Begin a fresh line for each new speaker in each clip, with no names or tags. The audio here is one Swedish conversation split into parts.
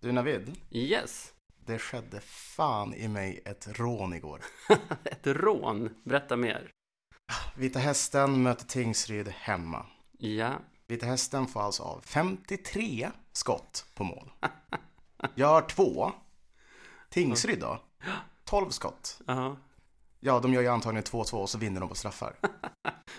Du Navid,
Yes.
det skedde fan i mig ett rån igår.
Ett rån. Berätta mer.
Vita Hästen möter Tingsryd hemma.
Ja.
Vita Hästen får alltså av 53 skott på mål. Jag har två. Tingsryd då? 12 skott.
Jaha.
Ja, de gör ju antagligen 2-2 och så vinner de på straffar.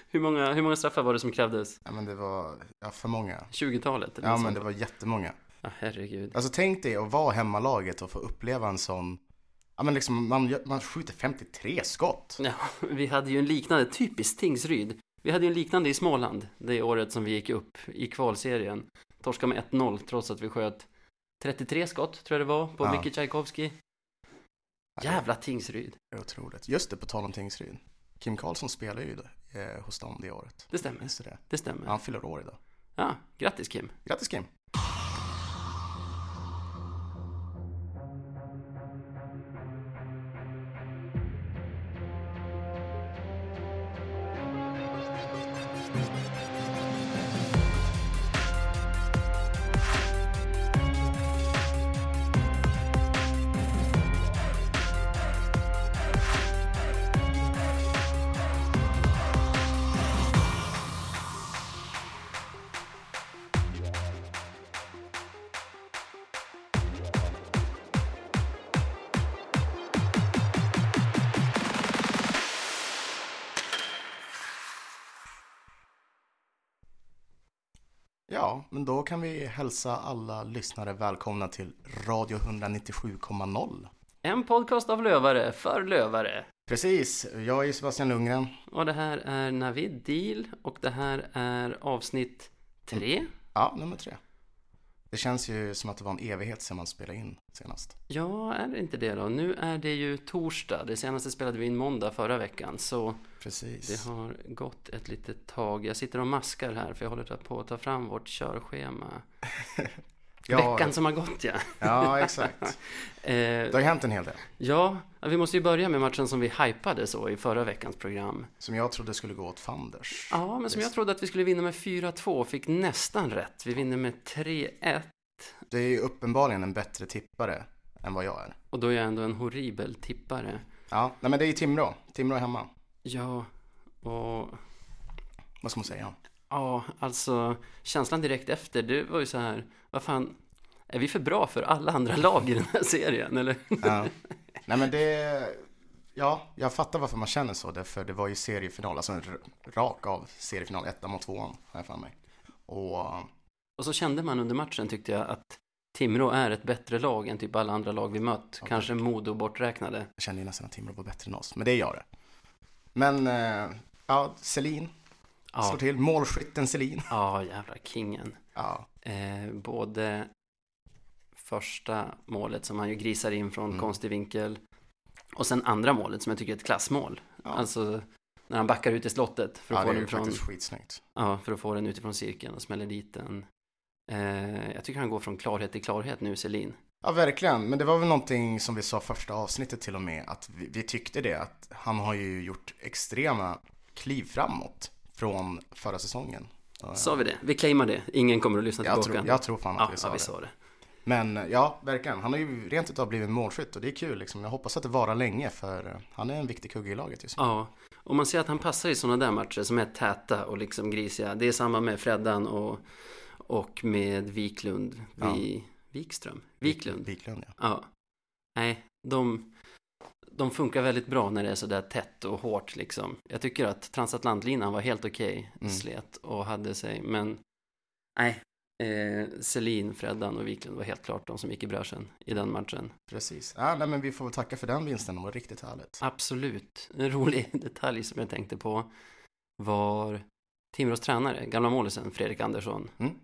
Hur många, hur många straffar var det som krävdes?
Ja, men det var ja, för många.
20-talet? eller
Ja,
något
men
sånt.
det var jättemånga.
Ja, Ah, herregud.
Alltså tänk dig att vara hemmalaget och få uppleva en sån... Ja, men liksom man, gör- man skjuter 53 skott.
Ja, vi hade ju en liknande, typiskt Tingsryd. Vi hade ju en liknande i Småland det året som vi gick upp i kvalserien. Torskade med 1-0 trots att vi sköt 33 skott, tror jag det var, på
Ja.
Micke Tchaikovsky. Jävla Tingsryd.
Det är Otroligt. Just det, på tal om Tingsryd. Kim Karlsson spelar ju eh, hos dem det året.
Det stämmer.
Minns du det?
Det stämmer. Ja.
Han fyller år idag.
grattis Kim.
Grattis Kim! Ja, men då kan vi hälsa alla lyssnare välkomna till Radio 197,0.
En podcast av lövare, för lövare.
Precis, jag är Sebastian Lundgren.
Och det här är Navid Deal och det här är avsnitt tre.
Ja, nummer tre. Det känns ju som att det var en evighet sedan man spelade in senast.
Ja, är det inte det då? Nu är det ju torsdag. Det senaste spelade vi in måndag förra veckan. Så det
Precis.
har gått ett litet tag. Jag sitter och maskar här för jag håller på att ta fram vårt körschema. Veckan som har gått ja.
ja exakt.
Eh,
Det har ju hänt en hel del
ja, vi måste ju börja med matchen som vi hypade så i förra veckans program.
som jag trodde skulle gå åt fanders.
Ja, men som jag trodde att vi skulle vinna med 4-2 fick nästan rätt. Vi vinner med 3-1.
Det är ju uppenbarligen en bättre tippare än vad jag är.
Och då är jag ändå en horribel tippare.
Ja, nej men det är ju Timrå. Timrå är hemma.
Ja, och
Vad ska man säga?
ja, alltså känslan direkt efter, det var ju så här, vad fan, är vi för bra för alla andra lag i den här serien eller?
Ja. Eh, Nej men det, ja, jag fattar varför man känner så. Därför det var ju seriefinal, alltså en r- rak av seriefinal, ettan mot tvåan, har jag för mig. Och eh,
Och så kände man under matchen tyckte jag att Timrå är ett bättre lag än typ alla andra lag vi mött,
Ja.
kanske Modo borträknade.
jag kände ju nästan att Timrå var bättre än oss, men det gör det. Men, eh, ja, Selin slår
Ja,
till. Målskytten Selin.
ja jävla kingen.
Ja,
Eh, både första målet som han ju grisar in från
Mm.
konstig vinkel och sen andra målet som jag tycker är ett klassmål.
Ja.
Alltså när han backar ut i slottet för att
ja det
få
är
den
ju
från
faktiskt skitsnyggt.
Ja, för att få den utifrån cirkeln och smäller dit den. Eh, jag tycker han går från klarhet till klarhet nu, Selin.
Ja, verkligen. Men det var väl någonting som vi sa första avsnittet till och med, att vi, vi tyckte det, att han har ju gjort extrema kliv framåt från förra säsongen.
Sa vi det? Vi claimar det. Ingen kommer att lyssna
Jag
tillbaka.
tror, jag tror fan att
ja,
vi sa
ja, vi
det.
sa det.
Men ja, verkligen. Han har ju rent utav blivit målskytt och det är kul liksom. Jag hoppas att det varar länge för eh, han är en viktig kugge i laget just nu.
Ja, och man ser att han passar i sådana där matcher som är täta och liksom grisiga. Det är samma med Freddan och, och med Wiklund. Vi, Wikström? Wiklund.
Wiklund ja.
Ja. Nej, de, de funkar väldigt bra när det är sådär tätt och hårt liksom. Jag tycker att transatlantlinan var helt okej,
Mm.
slet och hade sig, men nej. Eh, Selin, Freddan och Wiklund var helt klart de som gick i bräschen i den matchen.
Precis. Ja, nej, men vi får väl tacka för den vinsten, det var riktigt härligt.
Absolut. En rolig detalj som jag tänkte på var Timrås tränare, gamla målisen Fredrik Andersson.
Mm.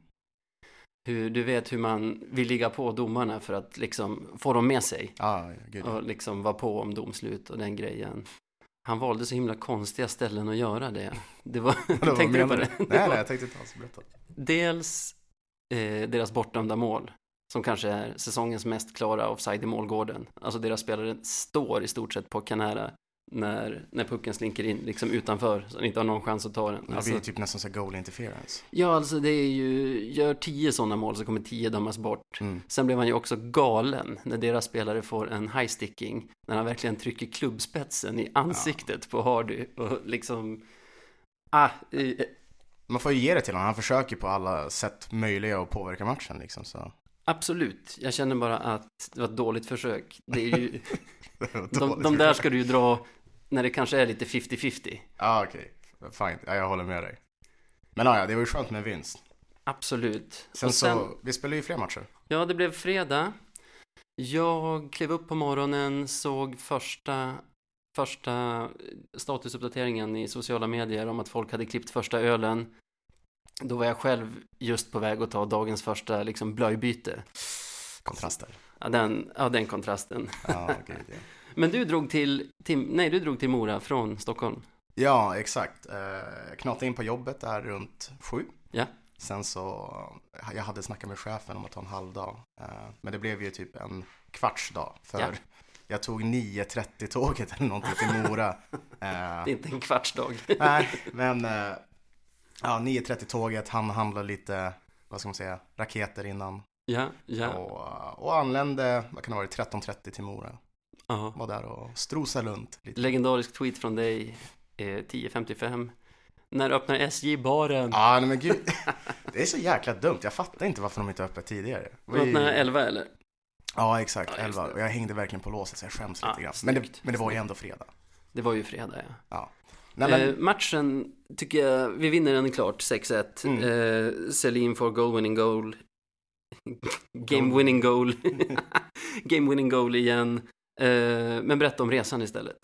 Hur, du vet hur man vill ligga på domarna för att liksom få dem med sig.
Ja, gud.
och liksom var på om domslut och den grejen. Han valde så himla konstiga ställen att göra det. Det var,
Vadå, vad
tänkte du på
menar
det?
Nej,
var
nej, jag tänkte inte alls berätta.
Dels eh, deras bortdömda mål, som kanske är säsongens mest klara offside i målgården. Alltså deras spelare står i stort sett på Canara när, när pucken slinker in liksom utanför så han inte har någon chans att ta den.
Det
Alltså,
blir typ nästan så här goal interference.
ja, alltså det är ju, gör tio sådana mål så kommer tio dömas bort.
Mm.
Sen blev han ju också galen när deras spelare får en high-sticking, när han verkligen trycker klubbspetsen i ansiktet på Hardy och liksom, ah, eh,
Man får ju ge det till honom. Han försöker på alla sätt möjliga att påverka matchen liksom. Så.
absolut, jag känner bara att det var ett dåligt försök. Det är ju, de,
Dåligt
de där
försök.
ska du ju dra när det kanske är lite 50-50.
Ja, okej. Fine. Ja, jag håller med dig. Men ja, ja, det var ju skönt med vinst.
Absolut.
Sen,
och sen,
så, vi spelar ju fler matcher.
ja det blev fredag. Jag klev upp på morgonen, såg första, första statusuppdateringen i sociala medier om att folk hade klippt första ölen. Då var jag själv just på väg att ta dagens första liksom blöjbyte.
Kontraster.
Ja, den, ja, den kontrasten.
Ja, gud, ja.
Men du drog till, till, nej, du drog till Mora från Stockholm.
ja, exakt. Eh, Jag knatade in på jobbet där runt sju.
Ja.
Sen så, jag hade snackat med chefen om att ta en halv dag. Eh, Men det blev ju typ en kvarts dag. För
Ja.
jag tog 9.30 tåget eller någonting till Mora. Eh,
Det är inte en kvartsdag.
Nej, men eh, ja, 9.30 tåget, han handlade lite, vad ska man säga, raketer innan.
ja, ja,
Och, och anlände, vad kan det vara, 13.30 till Mora.
ja.
Var där och strosade runt lite.
Legendarisk tweet från dig, eh, 10.55. När öppnar SJ baren?
Ja, nej men gud. Det är så jäkla dumt. Jag fattar inte varför de inte är öppet tidigare.
Vi... Öppnar 11 eller?
Ja, exakt.
Ja, just
11.
det.
Och jag hängde verkligen på låset så jag skäms
Ja,
lite grann. Men det,
snyggt.
men det var ju ändå fredag.
Det var ju fredag ja.
Nej, men,
Eh, matchen tycker jag, vi vinner den klart 6-1.
Mm.
Eh, Selin får goal winning goal. Game winning goal. Game winning goal igen. Eh, men berätta om resan istället.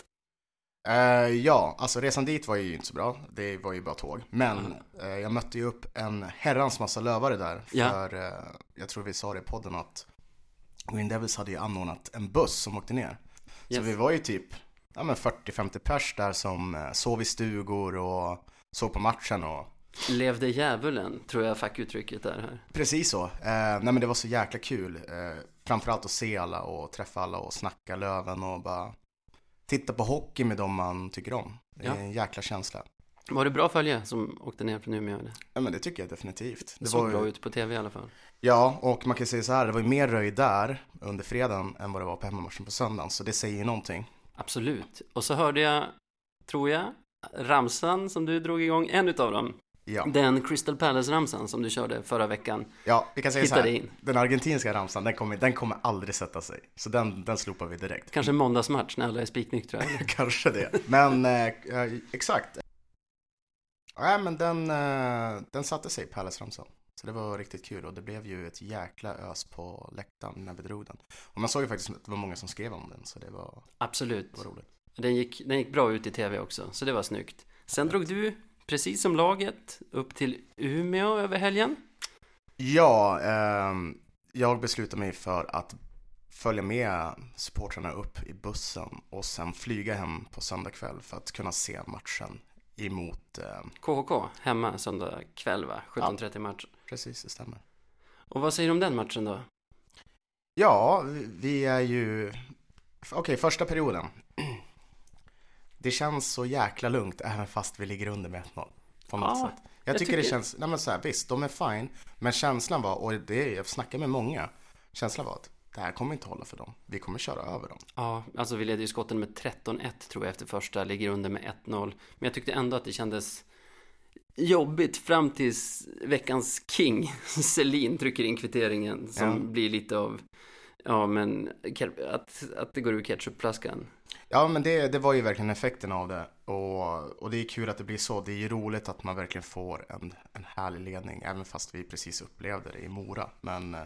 Eh, ja, alltså resan dit var ju inte så bra. Det var ju bara tåg. Men
Mm.
eh, jag mötte ju upp en herrans massa lövare där.
Ja.
För eh, jag tror vi sa det i podden att Green Devils hade ju anordnat en buss som åkte ner. Så
Yes.
vi var ju typ ja, men 40-50 pers där som eh, sov i stugor och såg på matchen och
Levde djävulen, tror jag fackuttrycket är här.
Precis så. Eh, nej men det var så jäkla kul. Eh, framförallt att se alla och träffa alla och snacka Löven och bara titta på hockey med dem man tycker om. Det är
Ja.
en jäkla känsla.
Var det bra följe som åkte ner från Umeå? Eller?
Ja men det tycker jag definitivt.
Det,
var
såg
ju-
bra ut på tv i alla fall.
Ja, och man kan säga så här, det var ju mer röj där under fredagen än vad det var på hemmamatchen på söndagen, så det säger ju någonting.
Absolut. Och så hörde jag, tror jag, ramsan som du drog igång, en utav dem.
Ja,
Den Crystal Palace-ramsan som du körde förra veckan
ja vi kan säga så
hittade
här,
in.
den argentinska ramsan, den kommer, den kommer aldrig sätta sig. Så den, den slopar vi direkt.
Kanske en måndagsmatch när alla är spiknyktra. eller?
Kanske det. Men eh, eh, exakt. Nej men den, eh, den satte sig, Palace-ramsan. Så det var riktigt kul och det blev ju ett jäkla ös på läktaren när vi drog den. Och man såg ju faktiskt att det var många som skrev om den så det var, det
Absolut.
var roligt.
Den gick, den gick bra ut i tv också, så det var snyggt. Sen drog du, precis som laget, upp till Umeå över helgen.
Ja, ehm, jag beslutade mig för att följa med supportrarna upp i bussen och sen flyga hem på söndag kväll för att kunna se matchen emot... Eh,
KHK hemma söndag kväll va? 17.30 match.
precis, det stämmer.
Och vad säger du om den matchen då?
Ja, vi- vi är ju... Okej, första perioden. Det känns så jäkla lugnt även fast vi ligger under med 1-0. På något
Ja,
sätt. Ah, Jag,
jag
tycker, det
tycker-
känns, nej men så här, visst de är fine, men känslan var, och det, jag snackar med många, känslan var att det här kommer inte hålla för dem. Vi kommer köra över dem.
Ja, alltså vi ledde ju skotten med 13-1 tror jag efter första, ligger under med 1-0. Men jag tyckte ändå att det kändes jobbigt fram tills veckans king, Selin, trycker in kvitteringen som
Ja.
blir lite av, ja men, ke- att, att det går ur ketchupflaskan.
Ja, men det, det var ju verkligen effekten av det. Och, och det är kul att det blir så. Det är ju roligt att man verkligen får en, en härlig ledning, även fast vi precis upplevde det i Mora. Men eh,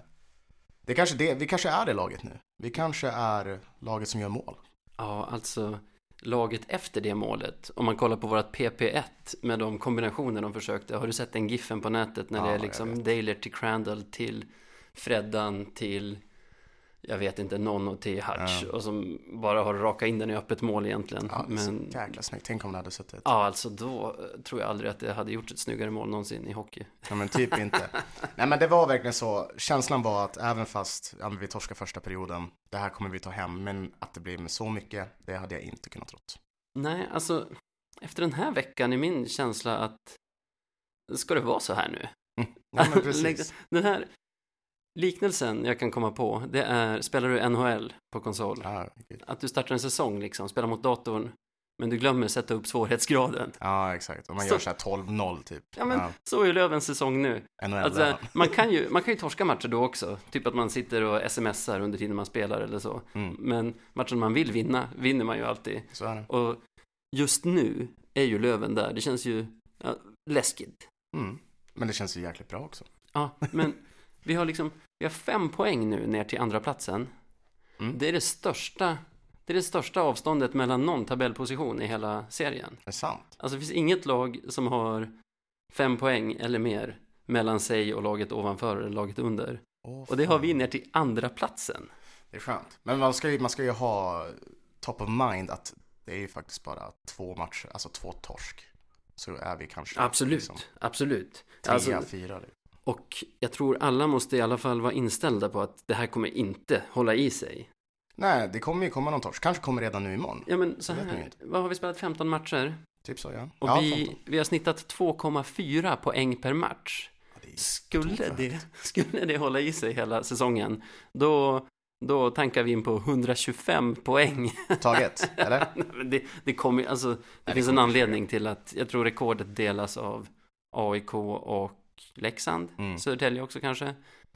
det är kanske det, vi kanske är det laget nu. Vi kanske är laget som gör mål.
Ja, alltså laget efter det målet, om man kollar på vårat PP1 med de kombinationer de försökte, har du sett den giffen på nätet när
Ja,
det är
jag
liksom Daler till Crandall till Freddan till jag vet inte, någon och till Hutch och som bara har rakat in den i öppet mål egentligen.
Ja,
Men
så jäkla snyggt. Tänk om det hade suttit.
ja, alltså då eh, tror jag aldrig att det hade gjort ett snyggare mål någonsin i hockey.
Ja, men typ inte. Nej, men det var verkligen så. Känslan var att även fast ja, men vi torskar första perioden, det här kommer vi ta hem. Men att det blir med så mycket, det hade jag inte kunnat trott.
Nej, alltså efter den här veckan är min känsla att ska det vara så här nu?
Ja, men precis.
Den här liknelsen jag kan komma på, det är spelar du NHL på konsol?
Ja, gud.
Att du startar en säsong liksom, spelar mot datorn, men du glömmer sätta upp svårighetsgraden.
ja, exakt. Om man
Så-
gör så här 12-0 typ.
Ja, men så är ju Lövens säsong nu.
Ja, NHL
Alltså,
där.
man, kan ju, man kan ju torska matcher då också, typ att man sitter och smsar under tiden man spelar eller så.
Mm,
Men matchen man vill vinna, vinner man ju alltid.
så är det.
Och just nu är ju Löven där, det känns ju ja, läskigt.
Mm. Men det känns ju jäkligt bra också.
Ja, men vi har liksom, vi har fem poäng nu ner till andra platsen.
Mm.
Det är det största, det är det största avståndet mellan någon tabellposition i hela serien.
Det är sant.
Alltså det finns inget lag som har fem poäng eller mer mellan sig och laget ovanför eller laget under.
Åh,
Och det har
fan.
vi ner till andra platsen.
Det är skönt. Men man ska, ju, man ska ju ha top of mind att det är ju faktiskt bara två matcher, alltså två torsk. Så är vi kanske liksom
absolut.
trea,
Alltså,
fyra. Liksom.
och jag tror alla måste i alla fall vara inställda på att det här kommer inte hålla i sig.
Nej, det kommer ju komma någon torsk. Kanske kommer redan nu imorgon.
Ja men så
Det vet man ju
här,
inte.
vad har vi spelat 15 matcher?
Typ så ja.
Och
ja,
vi,
15.
vi har snittat 2,4 poäng per match.
Ja, det är
Skulle
tok för
det,
högt.
skulle det hålla i sig hela säsongen, då, då tankar vi in på 125 poäng.
Taget, eller?
Nej, men det, det, kommer, alltså, det
det
finns en
kommer
anledning till att jag tror rekordet delas av AIK och Leksand,
Mm.
Södertälje också kanske.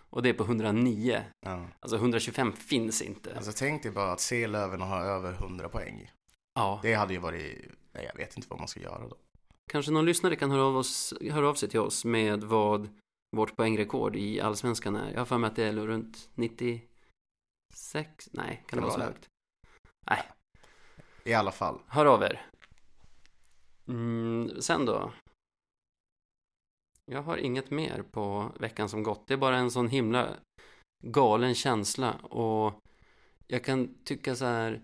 Och det är på 109.
Ja.
Alltså 125 finns inte.
Alltså tänk dig bara att se Löven och ha över 100 poäng.
Ja,
Det hade ju varit, nej jag vet inte vad man ska göra då.
kanske någon lyssnare kan höra av, oss, höra av sig till oss med vad vårt poängrekord i allsvenskan är. Jag har för mig att det är runt 96. Nej, kan det, vara så
det?
högt?
I alla fall.
Hör av er. Mm, sen då? Jag har inget mer på veckan som gått. Det är bara en sån himla galen känsla och jag kan tycka så här.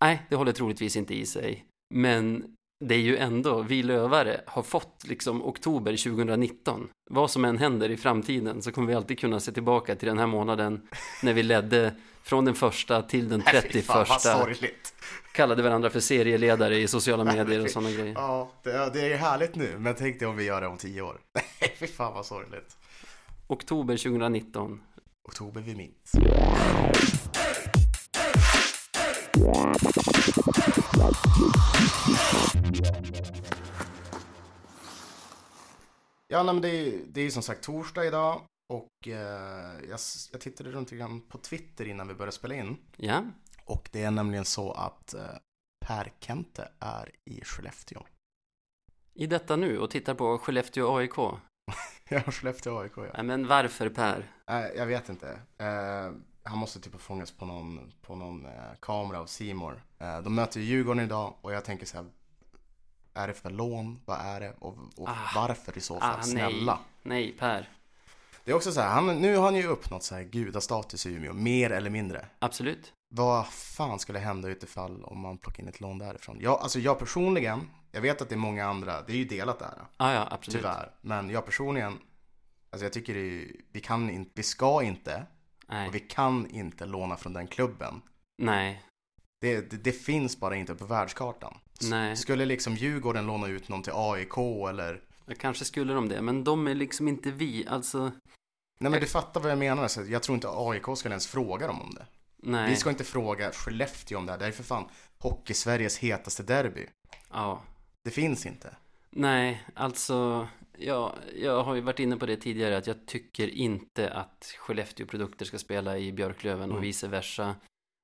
Nej, det håller troligtvis inte i sig. Men det är ju ändå, vi lövare har fått liksom oktober 2019. Vad som än händer i framtiden så kommer vi alltid kunna se tillbaka till den här månaden när vi ledde från den första till den
Nej, fy
31
fan, vad sorgligt.
kallade varandra för serieledare i sociala medier och sådana grejer.
Ja, det, ja, det är härligt nu, men tänk dig om vi gör det om 10 år. Nej, fy fan vad sorgligt.
Oktober 2019.
Oktober vi minns. Ja, nej, men det är ju det är ju som sagt torsdag idag och eh, jag, s- jag tittade runt lite grann på Twitter innan vi började spela in
Ja,
och det är nämligen så att eh, Per Kente är i Skellefteå.
i detta nu och tittar på Skellefteå AIK.
Ja, Skellefteå AIK ja.
Nej, men varför Per?
Nej, jag vet inte. Eh, han måste typ ha fångats på någon, på någon eh, kamera av Simor. Eh, de möter ju Djurgården idag och jag tänker så här. Är det för lån? Vad är det? Och, och
Ah.
varför i så fall?
Ah, nej.
Snälla.
Nej, Per.
Det är också så här, han, nu har han ju uppnått så här gudastatus i Umeå, mer eller mindre.
Absolut.
Vad fan skulle hända utifall om man plockar in ett lån därifrån? Jag, alltså jag personligen, jag vet att det är många andra, det är ju delat där.
Ah, ja, absolut.
Tyvärr. Men jag personligen, alltså jag tycker det är, vi kan inte, vi ska inte
Nej.
och vi kan inte låna från den klubben.
Nej.
Det, det, det finns bara inte på världskartan. S-
Nej.
Skulle liksom Djurgården låna ut någon till AIK eller?
Jag kanske skulle de det, men de är liksom inte vi. Alltså,
Nej men du fattar vad jag menar. Så jag tror inte AIK skulle ens fråga dem om det.
nej.
Vi ska inte fråga Skellefteå om det här. Det här är för fan Hockey-Sveriges hetaste derby.
Ja.
Det finns inte.
Nej, alltså, ja, jag har ju varit inne på det tidigare att jag tycker inte att Skellefteå-produkter ska spela i Björklöven och
Mm.
vice versa.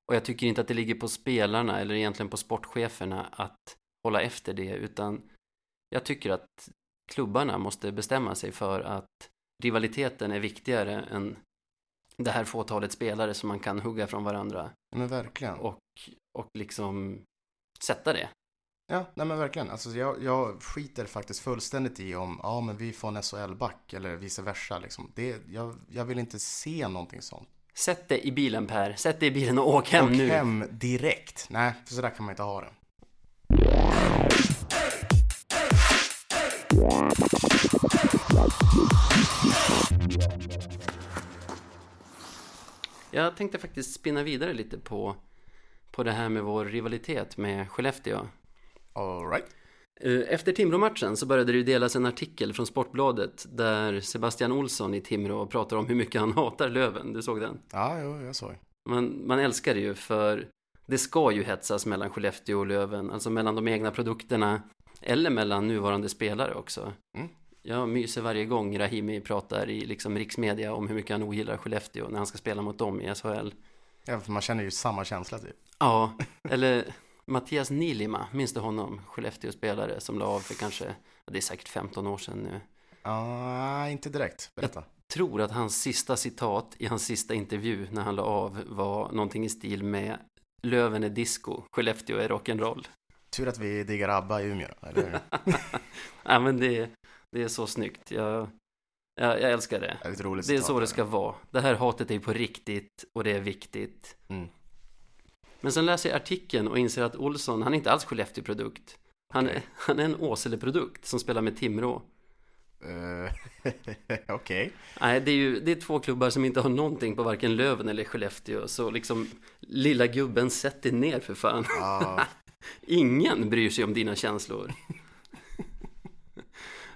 Och jag tycker inte att det ligger på spelarna eller egentligen på sportcheferna att hålla efter det, utan jag tycker att klubbarna måste bestämma sig för att rivaliteten är viktigare än det här fåtalet spelare som man kan hugga från varandra
Men verkligen.
och, och liksom sätta det.
Ja, nej men verkligen. Alltså jag, jag skiter faktiskt fullständigt i om, ja men vi får en SHL-back eller vice versa liksom. Det, jag, jag vill inte se någonting sånt.
Sätt det i bilen Per, sätt det i bilen och åk hem
och
nu.
hem direkt. Nej, för sådär kan man inte ha det.
Jag tänkte faktiskt spinna vidare lite på, på det här med vår rivalitet med Skellefteå.
All right.
Eh, Efter Timrå-matchen så började det ju delas en artikel från Sportbladet där Sebastian Olsson i Timrå pratar om hur mycket han hatar Löven. Du såg den?
Ja, jo, jag såg.
Man, man älskar det ju för det ska ju hetsas mellan Skellefteå och Löven, alltså mellan de egna produkterna eller mellan nuvarande spelare också.
Mm.
Jag myser varje gång Rahimi pratar i liksom riksmedia om hur mycket han ogillar Skellefteå när han ska spela mot dem i SHL.
Ja, för man känner ju samma känsla typ.
Ja, eller Mattias Nilima, minns du honom? Skellefteå-spelare som la av för kanske, det är säkert 15 år sedan nu.
Ja, inte direkt. Berätta.
Tror att hans sista citat i hans sista intervju när han la av var någonting i stil med Löven är disco, Skellefteå är rock'n'roll.
Tur att vi diggar ABBA i Umeå, eller hur?
Ja, men det, det är så snyggt. Jag, jag, jag älskar det.
Det är ett roligt
Det är
citat
så
där.
det ska vara. Det här hatet är på riktigt och det är viktigt.
Mm.
Men sen läser jag artikeln och inser att Olsson, han är inte alls Skellefteå-produkt. Han,
Okej.
han är en Åsele-produkt som spelar med Timrå.
Eh, Okej.
Nej, det är ju det är två klubbar som inte har någonting på varken Löven eller Skellefteå. Så liksom, lilla gubben, sätt dig ner för fan.
Ja,
Ingen bryr sig om dina känslor.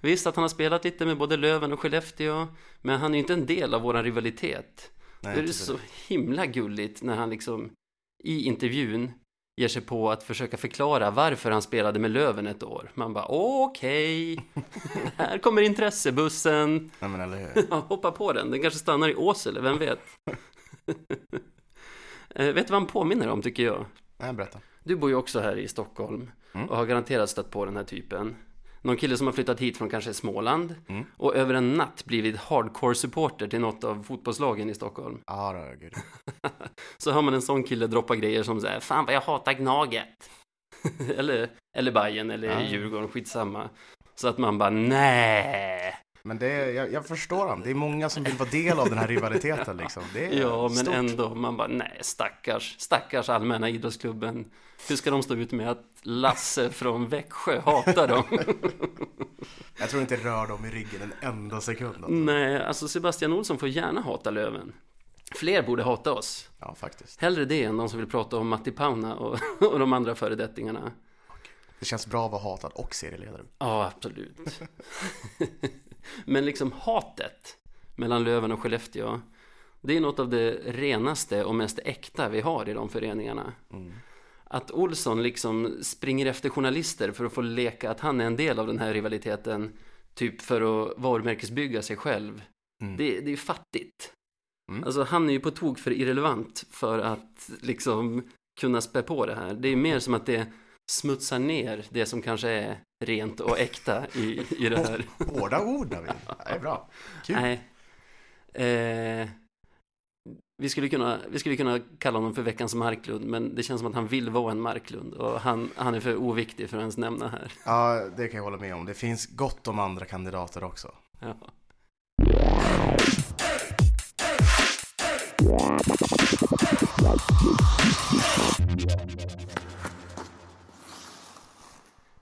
Visst att han har spelat lite med både Löven och Skellefteå, men han är ju inte en del av våran rivalitet.
nej,
det är
inte
så himla gulligt när han liksom i intervjun ger sig på att försöka förklara varför han spelade med Löven ett år. Man bara okej, här kommer intressebussen,
Nej, men eller hur?
Ja, hoppa på den, den kanske stannar i Åsele, vem vet? Eh, vet du vad han påminner om tycker jag?
Nej, berätta.
Du bor ju också här i Stockholm
Mm.
och har garanterat stött på den här typen. Någon kille som har flyttat hit från kanske Småland
Mm.
och över en natt blivit hardcore-supporter till något av fotbollslagen i Stockholm.
Ja, då, gud.
Så hör man en sån kille droppa grejer som såhär, fan vad jag hatar Gnaget. eller, eller Bayern eller
Ja.
Djurgården, skitsamma. Så att man bara, nej.
Men det är, jag, jag förstår honom. Det är många som vill vara del av den här rivaliteten liksom. Det är
Ja, men
stort.
ändå, man bara, nej, stackars, stackars allmänna idrottsklubben. Hur ska de stå ut med att Lasse från Växjö hatar dem?
Jag tror inte det rör dem i ryggen en enda sekund. Alltså.
nej, alltså Sebastian Olsson får gärna hata Löven. Fler borde hata oss.
Ja, faktiskt.
Hellre det än de som vill prata om Matti Pauna och, och de andra föredettingarna.
Det känns bra att vara hatad och serieledare.
Ja, absolut. Men liksom hatet mellan Löven och Skellefteå, det är något av det renaste och mest äkta vi har i de föreningarna.
Mm.
Att Olsson liksom springer efter journalister för att få leka att han är en del av den här rivaliteten, typ för att varumärkesbygga sig själv.
Mm.
Det, det är fattigt.
Mm.
Alltså han är ju på tok för irrelevant för att liksom kunna spä på det här. Det är mer som att det smutsar ner det som kanske är rent och äkta i, i det här.
Hårda ord, David. Det är bra. Kul.
Nej. Eh, vi, skulle kunna, vi skulle kunna kalla honom för veckans Marklund, men det känns som att han vill vara en Marklund och han, han är för oviktig för att ens nämna här.
Ja, det kan jag hålla med om. Det finns gott om andra kandidater också.
Ja.